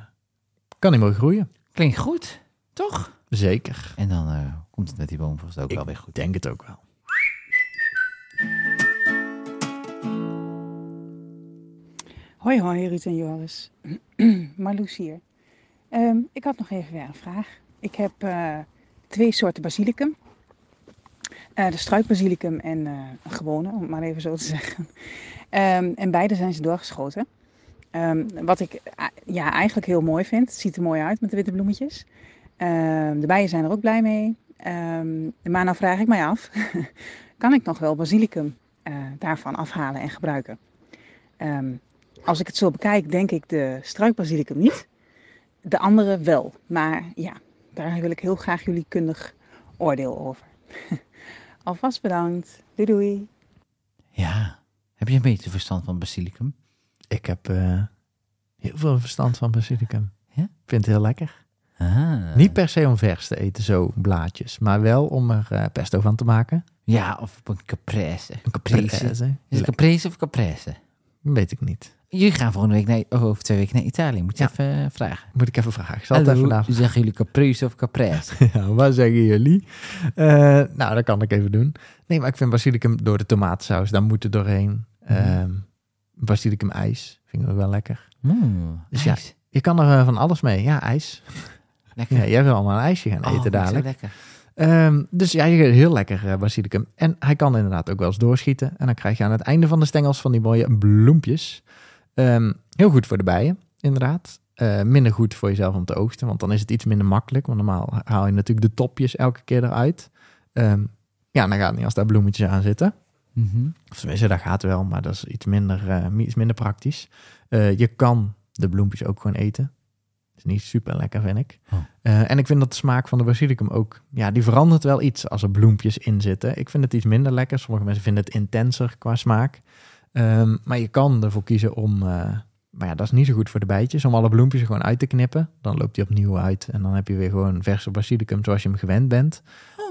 [SPEAKER 3] kan hij mooi groeien.
[SPEAKER 2] Klinkt goed, toch?
[SPEAKER 3] Zeker.
[SPEAKER 2] En dan eh, komt het met die boom volgens mij ook wel weer goed.
[SPEAKER 3] Denk het ook wel.
[SPEAKER 10] Hoi, hoi, Ruud en Joris. [CLEARS THROAT] Marloes hier. Ehm, ik had nog even weer een vraag. Ik heb eh, twee soorten basilicum. Eh, de struikbasilicum en eh, een gewone, om het maar even zo te [LAUGHS] zeggen. Ehm, en beide zijn ze doorgeschoten. Ehm, wat ik eh, ja, eigenlijk heel mooi vind. Het ziet er mooi uit met de witte bloemetjes. Ehm, de bijen zijn er ook blij mee. Ehm, maar nou vraag ik mij af, [LAUGHS] kan ik nog wel basilicum eh, daarvan afhalen en gebruiken? Ehm, als ik het zo bekijk, denk ik de struikbasilicum niet. De andere wel. Maar ja, daar wil ik heel graag jullie kundig oordeel over. [LAUGHS] Alvast bedankt. Doei doei.
[SPEAKER 2] Ja. Heb je een beetje verstand van basilicum?
[SPEAKER 3] Ik heb eh, heel veel verstand van basilicum.
[SPEAKER 2] Ja?
[SPEAKER 3] Ik vind het heel lekker.
[SPEAKER 2] Ah.
[SPEAKER 3] Niet per se om vers te eten, zo blaadjes. Maar wel om er eh, pesto van te maken.
[SPEAKER 2] Ja, of op een caprese. Een
[SPEAKER 3] Pres, hè?
[SPEAKER 2] Is het
[SPEAKER 3] Lekker.
[SPEAKER 2] caprese of caprese?
[SPEAKER 3] Weet ik niet.
[SPEAKER 2] Jullie gaan volgende week naar, of over twee weken naar Italië. Moet je
[SPEAKER 3] Ja.
[SPEAKER 2] even eh, vragen.
[SPEAKER 3] Moet ik even vragen. Ik zal het
[SPEAKER 2] Hallo,
[SPEAKER 3] even vandaag
[SPEAKER 2] Zeggen jullie caprese of caprese?
[SPEAKER 3] [LAUGHS]
[SPEAKER 2] [LAUGHS]
[SPEAKER 3] Ja, wat zeggen jullie? Eh, nou, dat kan ik even doen. Nee, maar ik vind basilicum door de tomatensaus, daar moet er doorheen. Ehm basilicum ijs, vind ik wel lekker.
[SPEAKER 2] Mm,
[SPEAKER 3] Dus ja,
[SPEAKER 2] ijs.
[SPEAKER 3] Je kan er eh, van alles mee. Ja, ijs.
[SPEAKER 2] Lekker.
[SPEAKER 3] Ja, jij wil allemaal een ijsje gaan
[SPEAKER 2] Hm. Oh,
[SPEAKER 3] eten
[SPEAKER 2] vind ik zo
[SPEAKER 3] dadelijk.
[SPEAKER 2] lekker.
[SPEAKER 3] Ehm, dus ja, je- heel lekker eh, basilicum. En hij kan inderdaad ook wel eens doorschieten. En dan krijg je aan het einde van de stengels van die mooie bloempjes. Ehm, heel goed voor de bijen, inderdaad. Eh, minder goed voor jezelf om te oogsten, want dan is het iets minder makkelijk. Want normaal haal je natuurlijk de topjes elke keer eruit. Ehm, ja, dan gaat het niet als daar bloemetjes aan zitten.
[SPEAKER 2] Mhm.
[SPEAKER 3] Of tenminste, dat gaat wel, maar dat is iets minder, eh, iets minder praktisch. Eh, je kan de bloempjes ook gewoon eten. is niet super lekker, vind ik.
[SPEAKER 2] Oh.
[SPEAKER 3] Eh, en ik vind dat de smaak van de basilicum ook... Ja, die verandert wel iets als er bloempjes in zitten. Ik vind het iets minder lekker. Sommige mensen vinden het intenser qua smaak. Ehm, maar je kan ervoor kiezen om... eh, maar ja, dat is niet zo goed voor de bijtjes. Om alle bloempjes er gewoon uit te knippen. Dan loopt die opnieuw uit. En dan heb je weer gewoon verse basilicum zoals je hem gewend bent.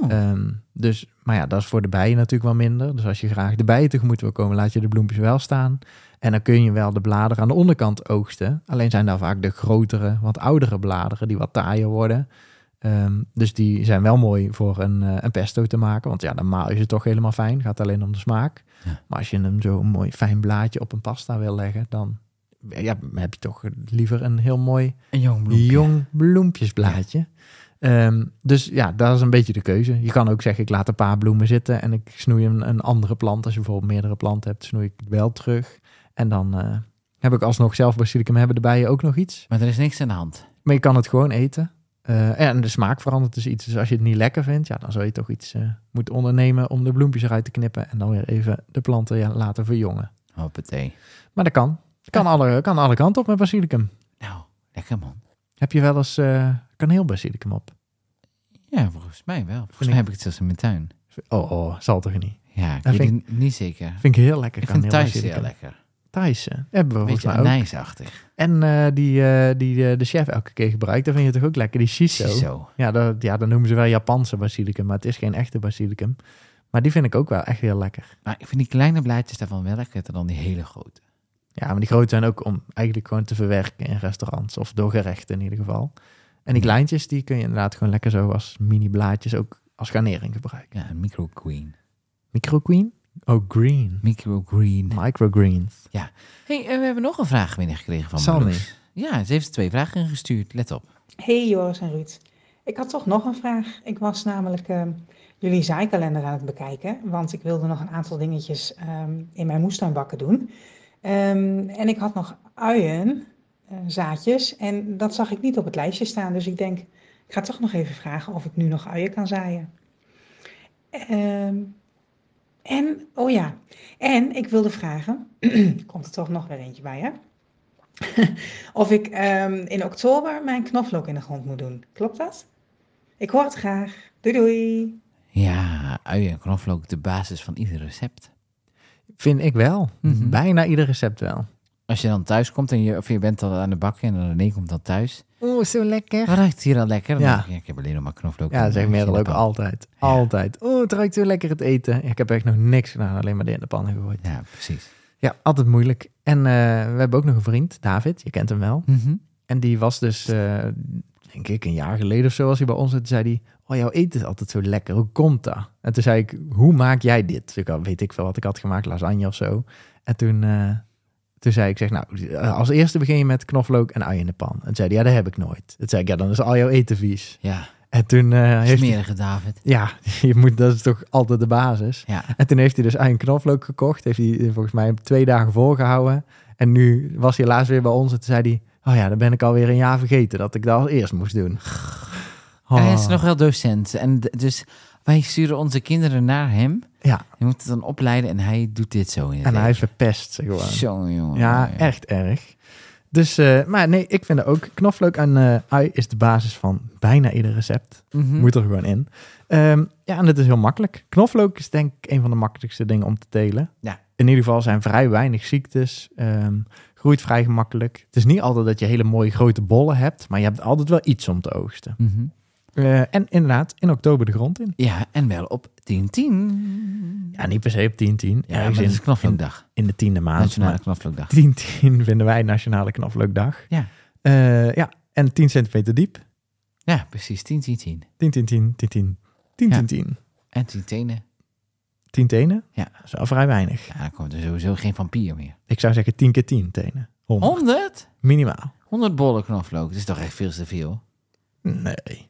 [SPEAKER 2] Oh.
[SPEAKER 3] Ehm, dus, maar ja, dat is voor de bijen natuurlijk wel minder. Dus als je graag de bijen tegemoet wil komen, laat je de bloempjes wel staan. En dan kun je wel de bladeren aan de onderkant oogsten. Alleen zijn daar vaak de grotere, wat oudere bladeren die wat taaier worden. Ehm, dus die zijn wel mooi voor een, eh, een pesto te maken. Want ja, dan maal je ze toch helemaal fijn. Gaat alleen om de smaak.
[SPEAKER 2] Ja.
[SPEAKER 3] Maar als je hem zo een mooi fijn blaadje op een pasta wil leggen, dan ja, heb je toch liever een heel mooi
[SPEAKER 2] Een jong bloempje.
[SPEAKER 3] Jong bloempjesblaadje. Ehm, dus ja, dat is een beetje de keuze. Je kan ook zeggen, ik laat een paar bloemen zitten en ik snoei een, een andere plant. Als je bijvoorbeeld meerdere planten hebt, snoei ik wel terug. En dan eh, heb ik alsnog zelf basilicum, hebben de bijen ook nog iets.
[SPEAKER 2] Maar er is niks aan de hand.
[SPEAKER 3] Maar je kan het gewoon eten. Eh, en de smaak verandert dus iets. Dus als je het niet lekker vindt, ja, dan zou je toch iets eh, moeten ondernemen om de bloempjes eruit te knippen. En dan weer even de planten ja, laten verjongen.
[SPEAKER 2] Hoppatee.
[SPEAKER 3] Maar dat kan. Kan alle, kan alle kanten op met basilicum.
[SPEAKER 2] Nou, lekker man.
[SPEAKER 3] Heb je wel eens eh kaneelbasilicum op?
[SPEAKER 2] Ja, volgens mij wel. Volgens
[SPEAKER 3] ik-
[SPEAKER 2] mij heb ik het zelfs in mijn tuin.
[SPEAKER 3] Oh, oh, zal toch niet?
[SPEAKER 2] Ja, ik
[SPEAKER 3] Dat
[SPEAKER 2] weet
[SPEAKER 3] vind
[SPEAKER 2] het niet zeker.
[SPEAKER 3] Vind ik heel lekker.
[SPEAKER 2] Ik vind thuis
[SPEAKER 3] Thaise
[SPEAKER 2] heel lekker.
[SPEAKER 3] Thaise hebben we volgens
[SPEAKER 2] Beetje
[SPEAKER 3] mij ook.
[SPEAKER 2] anijsachtig.
[SPEAKER 3] En eh, die, eh, die eh, de chef elke keer gebruikt, dat vind je toch ook lekker? Die shiso.
[SPEAKER 2] Zo.
[SPEAKER 3] Ja, dat, ja, dat noemen ze wel Japanse basilicum, maar het is geen echte basilicum. Maar die vind ik ook wel echt heel lekker.
[SPEAKER 2] Maar ik vind die kleine blaadjes daarvan wel lekkerder dan die hele grote.
[SPEAKER 3] Ja, maar die grote zijn ook om eigenlijk gewoon te verwerken in restaurants of door gerechten in ieder geval. En die kleintjes, die kun je inderdaad gewoon lekker zo als mini blaadjes ook als garnering gebruiken.
[SPEAKER 2] Ja, een micro queen.
[SPEAKER 3] Micro green? Oh, green.
[SPEAKER 2] Micro green.
[SPEAKER 3] Microgreens.
[SPEAKER 2] hey, eh, we hebben nog een vraag binnengekregen van
[SPEAKER 3] Sanne.
[SPEAKER 2] Marloes. Ja, ze heeft twee vragen ingestuurd. Let op.
[SPEAKER 10] Hey Joris en Ruud. Ik had toch nog een vraag. Ik was namelijk ehm, jullie zaaikalender aan het bekijken, want ik wilde nog een aantal dingetjes ehm, in mijn moestuinbakken doen. Ehm, en ik had nog uien, eh, zaadjes, en dat zag ik niet op het lijstje staan. Dus ik denk, Ik ga toch nog even vragen of ik nu nog uien kan zaaien. Ehm, en, oh ja, en ik wilde vragen, komt er toch nog weer eentje bij, hè? of ik ehm, in oktober mijn knoflook in de grond moet doen. Klopt dat? Ik hoor het graag. Doei doei!
[SPEAKER 2] Ja, uien en knoflook, de basis van ieder recept.
[SPEAKER 3] Vind ik wel.
[SPEAKER 2] Mhm.
[SPEAKER 3] Bijna ieder recept wel.
[SPEAKER 2] Als je dan thuis komt en je, of je bent al aan de bak en René komt dan thuis.
[SPEAKER 3] Oeh, zo lekker.
[SPEAKER 2] Wat ruikt hier al lekker? Dan
[SPEAKER 3] Ja.
[SPEAKER 2] denk ik, ik heb alleen nog maar knoflook.
[SPEAKER 3] Ja,
[SPEAKER 2] en
[SPEAKER 3] dat zegt
[SPEAKER 2] uitje in
[SPEAKER 3] Merel
[SPEAKER 2] de
[SPEAKER 3] ook
[SPEAKER 2] pan.
[SPEAKER 3] altijd. Altijd. Oeh, het ruikt zo lekker het eten. Ik heb echt nog niks gedaan, alleen maar dit in de pannen gegooid.
[SPEAKER 2] Ja, precies.
[SPEAKER 3] Ja, altijd moeilijk. En eh, we hebben ook nog een vriend, David. Je kent hem wel. En die was dus, eh, denk ik, een jaar geleden of zo was hij bij ons. En toen zei hij, oh, jouw eten is altijd zo lekker. Hoe komt dat? En toen zei ik, hoe maak jij dit? Dus ik had- weet ik veel wat ik had gemaakt, lasagne of zo. En toen, eh, toen zei ik, zeg, nou, eh, als eerste begin je met knoflook en ui in de pan. En toen zei hij, ja, dat heb ik nooit. Toen zei ik, ja, dan is al jouw eten vies.
[SPEAKER 2] Ja,
[SPEAKER 3] En toen eh, heeft hij,
[SPEAKER 2] smerige David.
[SPEAKER 3] ja, [LAUGHS] je moet, dat is toch altijd de basis.
[SPEAKER 2] Ja,
[SPEAKER 3] En toen heeft hij dus eigen knoflook gekocht. Heeft hij eh, volgens mij twee dagen volgehouden. En nu was hij laatst weer bij ons en toen zei hij... Oh ja, dan ben ik alweer een jaar vergeten dat ik dat als eerst moest doen.
[SPEAKER 2] En [SIGHS] hij is
[SPEAKER 3] Oh,
[SPEAKER 2] nog wel docent. En d- dus wij sturen onze kinderen naar hem.
[SPEAKER 3] Ja,
[SPEAKER 2] Je moet het dan opleiden en hij doet dit zo in het
[SPEAKER 3] en hij
[SPEAKER 2] leven.
[SPEAKER 3] verpest ze gewoon.
[SPEAKER 2] Zo, jongen.
[SPEAKER 3] Ja, echt erg. Dus, eh, maar nee, ik vind het ook. Knoflook en eh, ui is de basis van bijna ieder recept.
[SPEAKER 2] Mhm.
[SPEAKER 3] Moet er gewoon in. Ehm, ja, en het is heel makkelijk. Knoflook is denk ik een van de makkelijkste dingen om te telen.
[SPEAKER 2] Ja.
[SPEAKER 3] In ieder geval zijn vrij weinig ziektes. ehm, groeit vrij gemakkelijk. Het is niet altijd dat je hele mooie grote bollen hebt. Maar je hebt altijd wel iets om te oogsten.
[SPEAKER 2] Mhm.
[SPEAKER 3] Eh, en inderdaad, in oktober de grond in.
[SPEAKER 2] Ja, en wel op 10-10.
[SPEAKER 3] Ja, niet per se op 10-10.
[SPEAKER 2] Ja, maar dat is knoflookdag.
[SPEAKER 3] In de tiende maand.
[SPEAKER 2] Nationale
[SPEAKER 3] Maar
[SPEAKER 2] knoflookdag.
[SPEAKER 3] 10-10 vinden wij Nationale Knoflookdag.
[SPEAKER 2] Ja.
[SPEAKER 3] Eh, ja, en 10 centimeter diep.
[SPEAKER 2] Ja, precies. 10-10-10.
[SPEAKER 3] 10, 10, 10, 10, 10. 10,
[SPEAKER 2] Ja.
[SPEAKER 3] 10, 10.
[SPEAKER 2] En 10 tenen.
[SPEAKER 3] 10 tenen?
[SPEAKER 2] Ja.
[SPEAKER 3] Dat is wel vrij weinig.
[SPEAKER 2] Ja, dan komt er sowieso geen vampier meer.
[SPEAKER 3] Ik zou zeggen 10 keer 10 tenen. 100.
[SPEAKER 2] 100?
[SPEAKER 3] Minimaal.
[SPEAKER 2] 100 bollen knoflook. Dat is toch echt veel te veel?
[SPEAKER 3] Nee.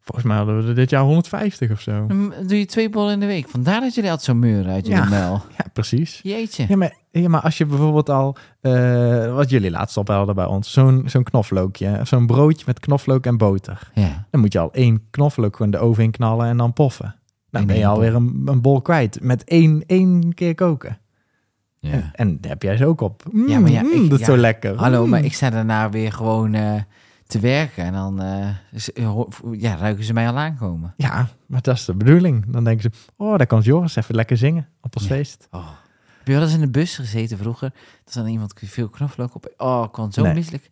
[SPEAKER 3] Volgens mij hadden we er dit jaar 150 of zo.
[SPEAKER 2] Dan doe je twee bollen in de week. Vandaar dat jullie altijd zo meuren uit jullie
[SPEAKER 3] Ja.
[SPEAKER 2] muil.
[SPEAKER 3] Ja, precies.
[SPEAKER 2] Jeetje.
[SPEAKER 3] Ja, maar, ja, maar als je bijvoorbeeld al, eh, wat jullie laatst op hadden bij ons, zo'n zo'n knoflookje, of zo'n broodje met knoflook en boter.
[SPEAKER 2] Ja.
[SPEAKER 3] Dan moet je al één knoflook gewoon de oven in knallen en dan poffen. Dan
[SPEAKER 2] Eén
[SPEAKER 3] ben je
[SPEAKER 2] hele
[SPEAKER 3] alweer een, een bol kwijt met één, één keer koken. En,
[SPEAKER 2] ja.
[SPEAKER 3] en daar heb jij ze ook op. Mm,
[SPEAKER 2] Ja, maar ja,
[SPEAKER 3] mm,
[SPEAKER 2] ik-
[SPEAKER 3] dat is
[SPEAKER 2] ja.
[SPEAKER 3] zo lekker.
[SPEAKER 2] Hallo,
[SPEAKER 3] Mm.
[SPEAKER 2] maar ik sta daarna weer gewoon eh, te werken. En dan eh, is- ho- ja, ruiken ze mij al aankomen.
[SPEAKER 3] Ja, maar dat is de bedoeling. Dan denken ze, oh, daar kan Joris even lekker zingen op ons
[SPEAKER 2] Ja.
[SPEAKER 3] feest.
[SPEAKER 2] Oh. Heb je wel eens in de bus gezeten vroeger? Dat dan iemand veel knoflook op. Oh, ik kon zo
[SPEAKER 3] Nee.
[SPEAKER 2] misselijk.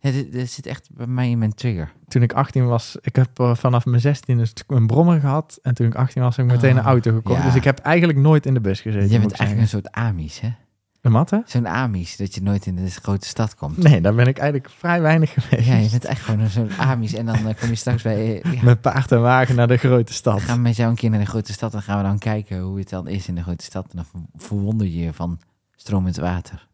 [SPEAKER 2] Ja, dit, dit zit echt bij mij in mijn trigger.
[SPEAKER 3] Toen ik 18 was, ik heb eh, vanaf mijn 16 dus een brommer gehad. En toen ik 18 was, heb ik meteen
[SPEAKER 2] Ah,
[SPEAKER 3] een auto gekocht.
[SPEAKER 2] ja.
[SPEAKER 3] Dus ik heb eigenlijk nooit in de bus gezeten.
[SPEAKER 2] Jij
[SPEAKER 3] moet
[SPEAKER 2] bent
[SPEAKER 3] ik
[SPEAKER 2] eigenlijk een soort Amies, hè?
[SPEAKER 3] zeggen. De matte?
[SPEAKER 2] Zo'n Amies, dat je nooit in de grote stad komt.
[SPEAKER 3] Nee, daar ben ik eigenlijk vrij weinig geweest.
[SPEAKER 2] Ja, je bent echt gewoon zo'n Amies. En dan eh, kom je straks bij...
[SPEAKER 3] [LAUGHS]
[SPEAKER 2] eh, ja,
[SPEAKER 3] Met paard en wagen naar de grote stad.
[SPEAKER 2] gaan we met jou een keer naar de grote stad en gaan we dan kijken hoe het dan is in de grote stad. En dan ver- verwonder je je van stromend water.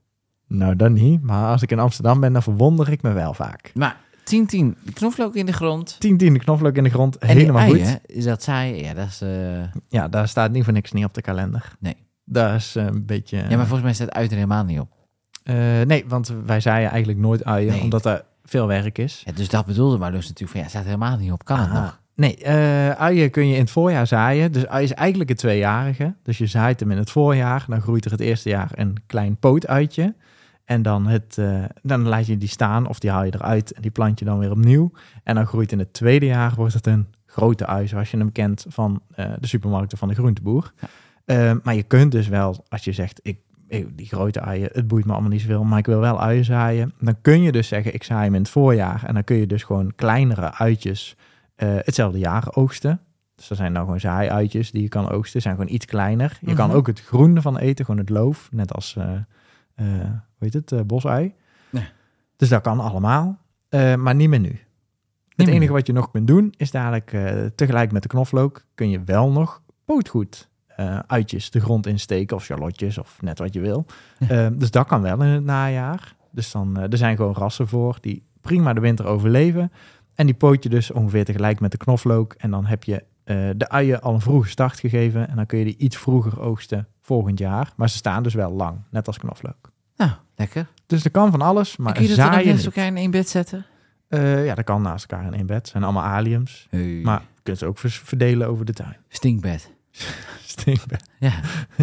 [SPEAKER 3] Nou, dan niet. Maar als ik in Amsterdam ben, dan verwonder ik me wel vaak.
[SPEAKER 2] Maar 10-10, knoflook in de grond.
[SPEAKER 3] 10 tiende knoflook in de grond,
[SPEAKER 2] En die
[SPEAKER 3] helemaal
[SPEAKER 2] uien,
[SPEAKER 3] goed.
[SPEAKER 2] Is dat saai? Ja, dat is... eh,
[SPEAKER 3] Ja, daar staat niet voor niks niet op de kalender.
[SPEAKER 2] Nee.
[SPEAKER 3] Daar is eh, een beetje...
[SPEAKER 2] Ja, maar volgens mij staat uit er helemaal niet op.
[SPEAKER 3] Eh, nee, want wij zaaien eigenlijk nooit uien,
[SPEAKER 2] Nee.
[SPEAKER 3] omdat er veel werk is.
[SPEAKER 2] Ja, dus dat bedoelde Marloes natuurlijk van ja, staat er helemaal niet op. Kan het
[SPEAKER 3] Ah,
[SPEAKER 2] nog?
[SPEAKER 3] Nee, eh, uien kun je in het voorjaar zaaien. Dus ui is eigenlijk een tweejarige. Dus je zaait hem in het voorjaar. Dan groeit er het eerste jaar een klein pootuitje. En dan, het, eh, dan laat je die staan of die haal je eruit en die plant je dan weer opnieuw. En dan groeit in het tweede jaar, wordt het een grote ui zoals je hem kent van eh, de supermarkten van de groenteboer. Eh, maar je kunt dus wel, als je zegt, ik, ik- die grote uien, het boeit me allemaal niet zoveel, maar ik wil wel uien zaaien. Dan kun je dus zeggen, ik zaai hem in het voorjaar. En dan kun je dus gewoon kleinere uitjes eh, hetzelfde jaar oogsten. Dus er zijn nou gewoon zaaiuitjes die je kan oogsten. Zijn gewoon iets kleiner. Je kan
[SPEAKER 2] Mhm.
[SPEAKER 3] ook het groen van eten, gewoon het loof. Net als, eh, eh, hoe heet het, eh, bosui.
[SPEAKER 2] Ja.
[SPEAKER 3] Dus dat kan allemaal, eh, maar niet meer nu.
[SPEAKER 2] meer
[SPEAKER 3] het enige
[SPEAKER 2] nu.
[SPEAKER 3] wat je nog kunt doen, is dadelijk eh, tegelijk met de knoflook... kun je wel nog pootgoed eh, uitjes de grond insteken of charlotjes of net wat je wil. Eh, dus dat kan wel in het najaar. Dus dan, eh, er zijn gewoon rassen voor die prima de winter overleven. En die poot je dus ongeveer tegelijk met de knoflook. En dan heb je eh, de uien al een vroege start gegeven. En dan kun je die iets vroeger oogsten volgend jaar. Maar ze staan dus wel lang, net als knoflook.
[SPEAKER 2] Nou, lekker.
[SPEAKER 3] Dus er kan van alles, maar
[SPEAKER 2] en kun je dat dan
[SPEAKER 3] zaaien
[SPEAKER 2] ook naast
[SPEAKER 3] niet.
[SPEAKER 2] elkaar in één bed zetten?
[SPEAKER 3] Eh, ja, dat kan naast elkaar in één bed. Het zijn allemaal aliums.
[SPEAKER 2] Hey.
[SPEAKER 3] Maar je kunt ze ook vers- verdelen over de tuin. [LAUGHS]
[SPEAKER 2] Stinkbed.
[SPEAKER 3] Stinkbed.
[SPEAKER 2] Ja,
[SPEAKER 3] [LAUGHS]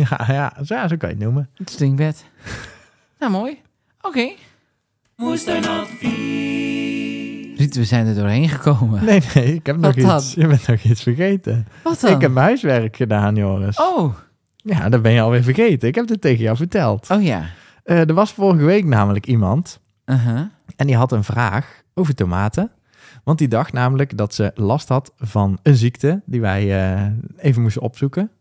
[SPEAKER 3] Ja, ja, zo, ja, zo kan je het
[SPEAKER 2] [LAUGHS]
[SPEAKER 3] noemen.
[SPEAKER 2] het stinkbed. nou, mooi. Oké. Riet, we zijn er doorheen gekomen.
[SPEAKER 3] Nee, nee, ik heb nog
[SPEAKER 2] Wat dan?
[SPEAKER 3] iets. Je bent nog iets vergeten.
[SPEAKER 2] Wat dan?
[SPEAKER 3] Ik heb mijn huiswerk gedaan, Joris.
[SPEAKER 2] Oh,
[SPEAKER 3] Ja, dat ben je alweer vergeten. Ik heb dit tegen jou verteld.
[SPEAKER 2] oh ja.
[SPEAKER 3] Eh, er was vorige week namelijk iemand
[SPEAKER 2] Uh-huh.
[SPEAKER 3] en die had een vraag over tomaten. Want die dacht namelijk dat ze last had van een ziekte die wij eh, even moesten opzoeken.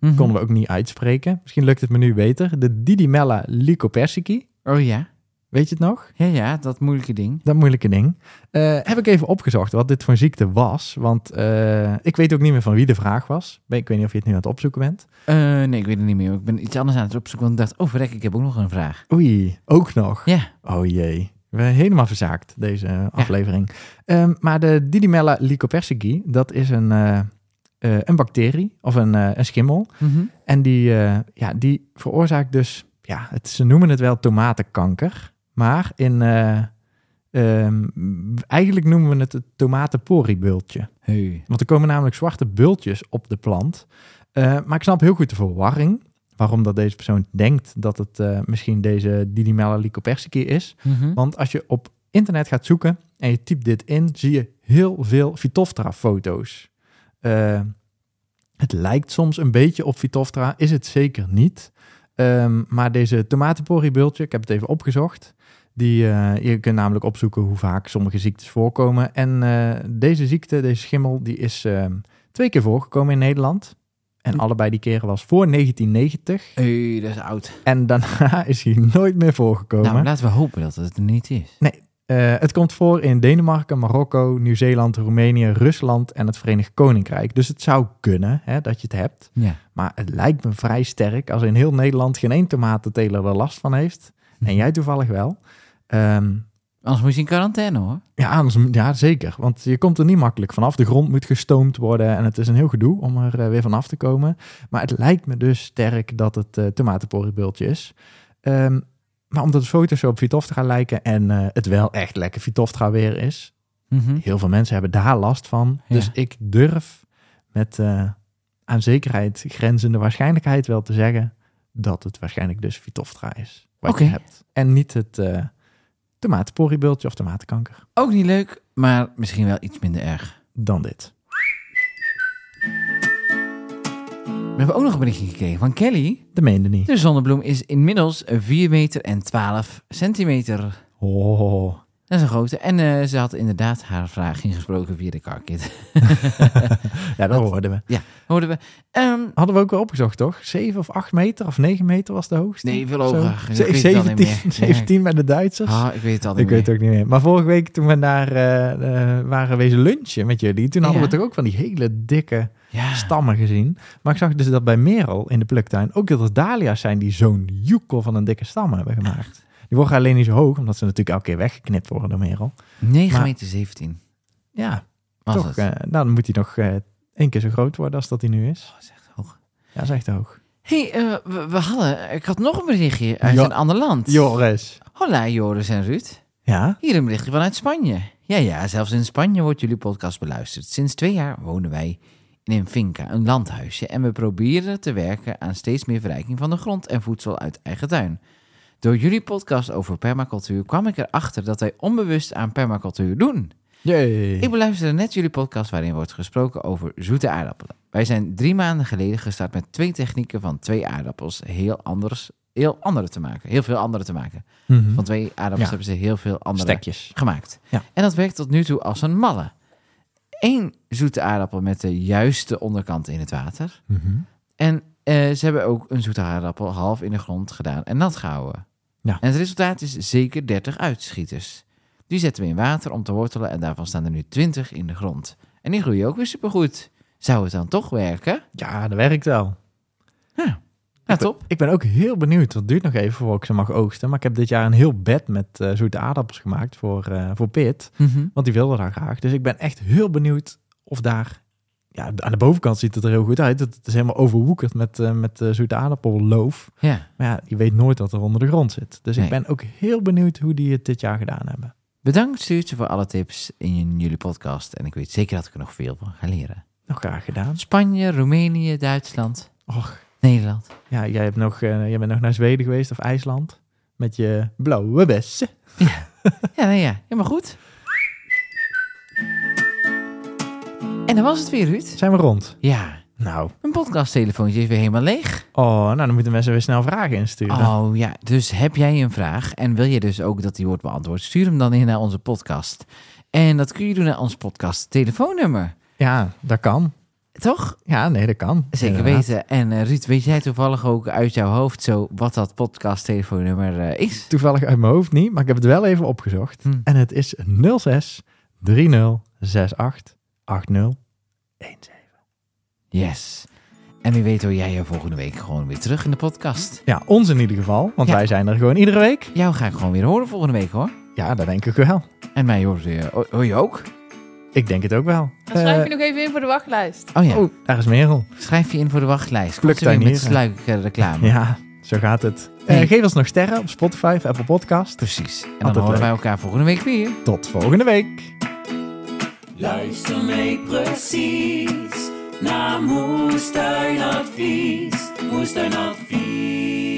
[SPEAKER 2] Mhm.
[SPEAKER 3] Konden we ook niet uitspreken. Misschien lukt het me nu beter. De Didymella lycopersicum.
[SPEAKER 2] Oh ja.
[SPEAKER 3] Weet je het nog?
[SPEAKER 2] Ja, ja, dat moeilijke ding.
[SPEAKER 3] Dat moeilijke ding. Eh, heb ik even opgezocht wat dit voor ziekte was. Want eh, ik weet ook niet meer van wie de vraag was. Ik weet niet of je het nu aan het opzoeken bent.
[SPEAKER 2] Eh, nee, ik weet het niet meer. Ik ben iets anders aan het opzoeken, want ik dacht, oh verrek, ik heb ook nog een vraag.
[SPEAKER 3] Oei, ook nog.
[SPEAKER 2] Ja.
[SPEAKER 3] Oh jee. We zijn helemaal verzaakt, deze eh, aflevering. Ehm, maar de Didymella lycopersicum, dat is een, eh, eh, een bacterie of een, eh, een schimmel.
[SPEAKER 2] Mhm.
[SPEAKER 3] En die, eh, ja, die veroorzaakt dus, ja, het, ze noemen het wel tomatenkanker. Maar in, eh, ehm, eigenlijk noemen we het het tomatenporiebultje.
[SPEAKER 2] Hey.
[SPEAKER 3] Want er komen namelijk zwarte bultjes op de plant. Eh, maar ik snap heel goed de verwarring. Waarom dat deze persoon denkt dat het eh, misschien deze Didymella lycopersicum is.
[SPEAKER 2] Mhm.
[SPEAKER 3] Want als je op internet gaat zoeken en je typt dit in, zie je heel veel Phytophthora foto's. Eh, het lijkt soms een beetje op Phytophthora, is het zeker niet. Ehm, maar deze tomatenporiebultje, ik heb het even opgezocht. Die, eh, je kunt namelijk opzoeken hoe vaak sommige ziektes voorkomen. En eh, deze ziekte, deze schimmel, die is ehm, twee keer voorgekomen in Nederland. En
[SPEAKER 2] Hm.
[SPEAKER 3] allebei die keren was voor 1990.
[SPEAKER 2] Hey, dat is oud.
[SPEAKER 3] En daarna [LAUGHS] is hij nooit meer voorgekomen.
[SPEAKER 2] Nou, laten we hopen dat het er niet is.
[SPEAKER 3] Eh, het komt voor in Denemarken, Marokko, Nieuw-Zeeland, Roemenië, Rusland en het Verenigd Koninkrijk. Dus het zou kunnen hè, dat je het hebt.
[SPEAKER 2] Ja.
[SPEAKER 3] Maar het lijkt me vrij sterk als in heel Nederland geen één tomatenteler er last van heeft. En jij toevallig wel. Ehm,
[SPEAKER 2] Anders moet je in quarantaine hoor.
[SPEAKER 3] ja, anders, ja, zeker. Want je komt er niet makkelijk vanaf. De grond moet gestoomd worden en het is een heel gedoe om er eh, weer vanaf te komen. Maar het lijkt me dus sterk dat het eh tomatenporriebultje is. Ehm, maar omdat de foto's zo op Vitoftra lijken en eh, het wel echt lekker Vitoftra weer is,
[SPEAKER 2] Mhm.
[SPEAKER 3] heel veel mensen hebben daar last van.
[SPEAKER 2] Ja.
[SPEAKER 3] Dus ik durf met eh, aan zekerheid grenzende waarschijnlijkheid wel te zeggen dat het waarschijnlijk dus Vitoftra is. Wat
[SPEAKER 2] Oké.
[SPEAKER 3] je hebt. En niet het eh tomatenporriebultje of tomatenkanker.
[SPEAKER 2] Ook niet leuk, maar misschien wel iets minder erg.
[SPEAKER 3] Dan dit.
[SPEAKER 2] We hebben ook nog een berichtje gekregen van Kelly.
[SPEAKER 3] Dat meende niet.
[SPEAKER 2] De zonnebloem is inmiddels 4 meter en 12 centimeter.
[SPEAKER 3] Oh.
[SPEAKER 2] Dat is een grote. En eh, ze had inderdaad haar vraag ingesproken via de carkit.
[SPEAKER 3] Ja,
[SPEAKER 2] Oh.
[SPEAKER 3] dat hoorden we.
[SPEAKER 2] [LAUGHS] Hoorden we. Ehm,
[SPEAKER 3] Hadden we ook wel opgezocht, toch? 7 of 8 meter of 9 meter was de hoogste?
[SPEAKER 2] Nee, veel
[SPEAKER 3] Zo.
[SPEAKER 2] hoger. Ik
[SPEAKER 3] Ze-
[SPEAKER 2] weet het al niet
[SPEAKER 3] 17, [LAUGHS]
[SPEAKER 2] meer.
[SPEAKER 3] 17 bij de Duitsers.
[SPEAKER 2] ah, ik weet het al niet
[SPEAKER 3] Dus- Ik weet
[SPEAKER 2] meer.
[SPEAKER 3] het ook niet meer. Maar vorige week toen we daar eh, eh, waren wezen lunchen met jullie, toen hadden
[SPEAKER 2] Ja.
[SPEAKER 3] we toch ook van die hele dikke
[SPEAKER 2] Ja.
[SPEAKER 3] stammen gezien. Maar ik zag dus dat bij Merel in de pluktuin ook dat er dahlia's zijn die zo'n joekel van een dikke stam hebben gemaakt. Die worden alleen niet zo hoog, omdat ze natuurlijk elke keer weggeknipt worden door Merel.
[SPEAKER 2] 9
[SPEAKER 3] Maar-
[SPEAKER 2] meter 17
[SPEAKER 3] Ja,
[SPEAKER 2] was
[SPEAKER 3] toch.
[SPEAKER 2] het.
[SPEAKER 3] eh, nou, dan moet hij nog eh, één keer zo groot worden als dat hij nu is.
[SPEAKER 2] Dat is echt Oh, hoog.
[SPEAKER 3] Ja, dat is echt hoog.
[SPEAKER 2] hey, eh, we, we hadden... Ik had nog een berichtje uit
[SPEAKER 3] Ja.
[SPEAKER 2] een ander land.
[SPEAKER 3] Joris.
[SPEAKER 2] Hola Joris en Ruud.
[SPEAKER 3] Ja?
[SPEAKER 2] Hier een berichtje vanuit Spanje. Ja, ja, zelfs in Spanje wordt jullie podcast beluisterd. Sinds twee jaar wonen wij in een finca, een landhuisje. En we proberen te werken aan steeds meer verrijking van de grond en voedsel uit eigen tuin. Door jullie podcast over permacultuur kwam ik erachter dat wij onbewust aan permacultuur doen.
[SPEAKER 3] Jee.
[SPEAKER 2] Ik beluisterde net jullie podcast waarin wordt gesproken over zoete aardappelen. Wij zijn drie maanden geleden gestart met twee technieken van twee aardappels heel anders, heel andere te maken. Heel veel andere te maken.
[SPEAKER 3] Mhm.
[SPEAKER 2] Van twee aardappels
[SPEAKER 3] Ja.
[SPEAKER 2] hebben ze heel veel andere
[SPEAKER 3] Stekjes.
[SPEAKER 2] gemaakt.
[SPEAKER 3] Ja.
[SPEAKER 2] En dat werkt tot nu toe als een malle. Eén zoete aardappel met de juiste onderkant in het water.
[SPEAKER 3] Mhm.
[SPEAKER 2] En eh, ze hebben ook een zoete aardappel half in de grond gedaan en nat gehouden.
[SPEAKER 3] Ja.
[SPEAKER 2] En het resultaat is zeker 30 uitschieters. Die zetten we in water om te wortelen en daarvan staan er nu 20 in de grond. En die groeien ook weer supergoed. Zou het dan toch werken?
[SPEAKER 3] Ja, dat werkt wel.
[SPEAKER 2] Nou, top.
[SPEAKER 3] Ik ben ook heel benieuwd. Dat duurt nog even voor ik ze mag oogsten. Maar ik heb dit jaar een heel bed met eh, zoete aardappels gemaakt voor, eh, voor Pit.
[SPEAKER 2] Mhm.
[SPEAKER 3] Want die wilde daar graag. Dus ik ben echt heel benieuwd of daar... Ja, aan de bovenkant ziet het er heel goed uit. Het het is helemaal overwoekerd met, eh, met eh, zoete aardappelloof.
[SPEAKER 2] Ja.
[SPEAKER 3] Maar ja, je weet nooit wat er onder de grond zit. Dus
[SPEAKER 2] Nee.
[SPEAKER 3] ik ben ook heel benieuwd hoe die het dit jaar gedaan hebben.
[SPEAKER 2] Bedankt Stuurtje voor alle tips in jullie podcast. En ik weet zeker dat ik er nog veel van ga leren.
[SPEAKER 3] Nog graag gedaan.
[SPEAKER 2] Spanje, Roemenië, Duitsland,
[SPEAKER 3] Och,
[SPEAKER 2] Nederland.
[SPEAKER 3] ja, jij, hebt nog, eh, jij bent nog naar Zweden geweest of IJsland. Met je blauwe bessen.
[SPEAKER 2] Ja, nee, ja. Helemaal goed. En dan was het weer, Ruud.
[SPEAKER 3] Zijn we rond?
[SPEAKER 2] Ja,
[SPEAKER 3] Nou.
[SPEAKER 2] mijn podcasttelefoontje is weer helemaal leeg.
[SPEAKER 3] Oh, nou dan moeten mensen weer snel vragen insturen.
[SPEAKER 2] Oh ja, dus heb jij een vraag en wil je dus ook dat die wordt beantwoord? Stuur hem dan in naar onze podcast. En dat kun je doen naar ons podcast telefoonnummer.
[SPEAKER 3] Ja, dat kan.
[SPEAKER 2] Toch?
[SPEAKER 3] Ja, nee, dat kan.
[SPEAKER 2] Zeker
[SPEAKER 3] Inderdaad.
[SPEAKER 2] weten. En eh, Ruud, weet jij toevallig ook uit jouw hoofd zo wat dat podcast telefoonnummer eh, is?
[SPEAKER 3] Toevallig uit mijn hoofd niet, maar ik heb het wel even opgezocht.
[SPEAKER 2] Hm.
[SPEAKER 3] En het is 06 30 68 80 17.
[SPEAKER 2] Yes. En wie weet hoor jij je volgende week gewoon weer terug in de podcast.
[SPEAKER 3] Ja, ons in ieder geval, want
[SPEAKER 2] Ja.
[SPEAKER 3] wij zijn er gewoon iedere week.
[SPEAKER 2] Jou ga ik gewoon weer horen volgende week hoor.
[SPEAKER 3] Ja, dat denk ik wel.
[SPEAKER 2] En mij hoor je, hoor- hoor je ook?
[SPEAKER 3] Ik denk het ook wel.
[SPEAKER 4] Dan schrijf je
[SPEAKER 3] Eh,
[SPEAKER 4] nog even in voor de wachtlijst.
[SPEAKER 2] Oh ja,
[SPEAKER 3] oh, daar is Merel.
[SPEAKER 2] schrijf je in voor de wachtlijst. Komt ze weer
[SPEAKER 3] Pluktuinieren.
[SPEAKER 2] met sluike reclame.
[SPEAKER 3] Ja, zo gaat het. Eh,
[SPEAKER 2] Hey.
[SPEAKER 3] geef ons nog sterren op Spotify of Apple Podcast.
[SPEAKER 2] Precies. En dan
[SPEAKER 3] Altijd
[SPEAKER 2] horen wij
[SPEAKER 3] leuk.
[SPEAKER 2] elkaar volgende week weer.
[SPEAKER 3] Tot volgende week.
[SPEAKER 1] Luister mee precies naar Moestuinadvies. Moestuinadvies.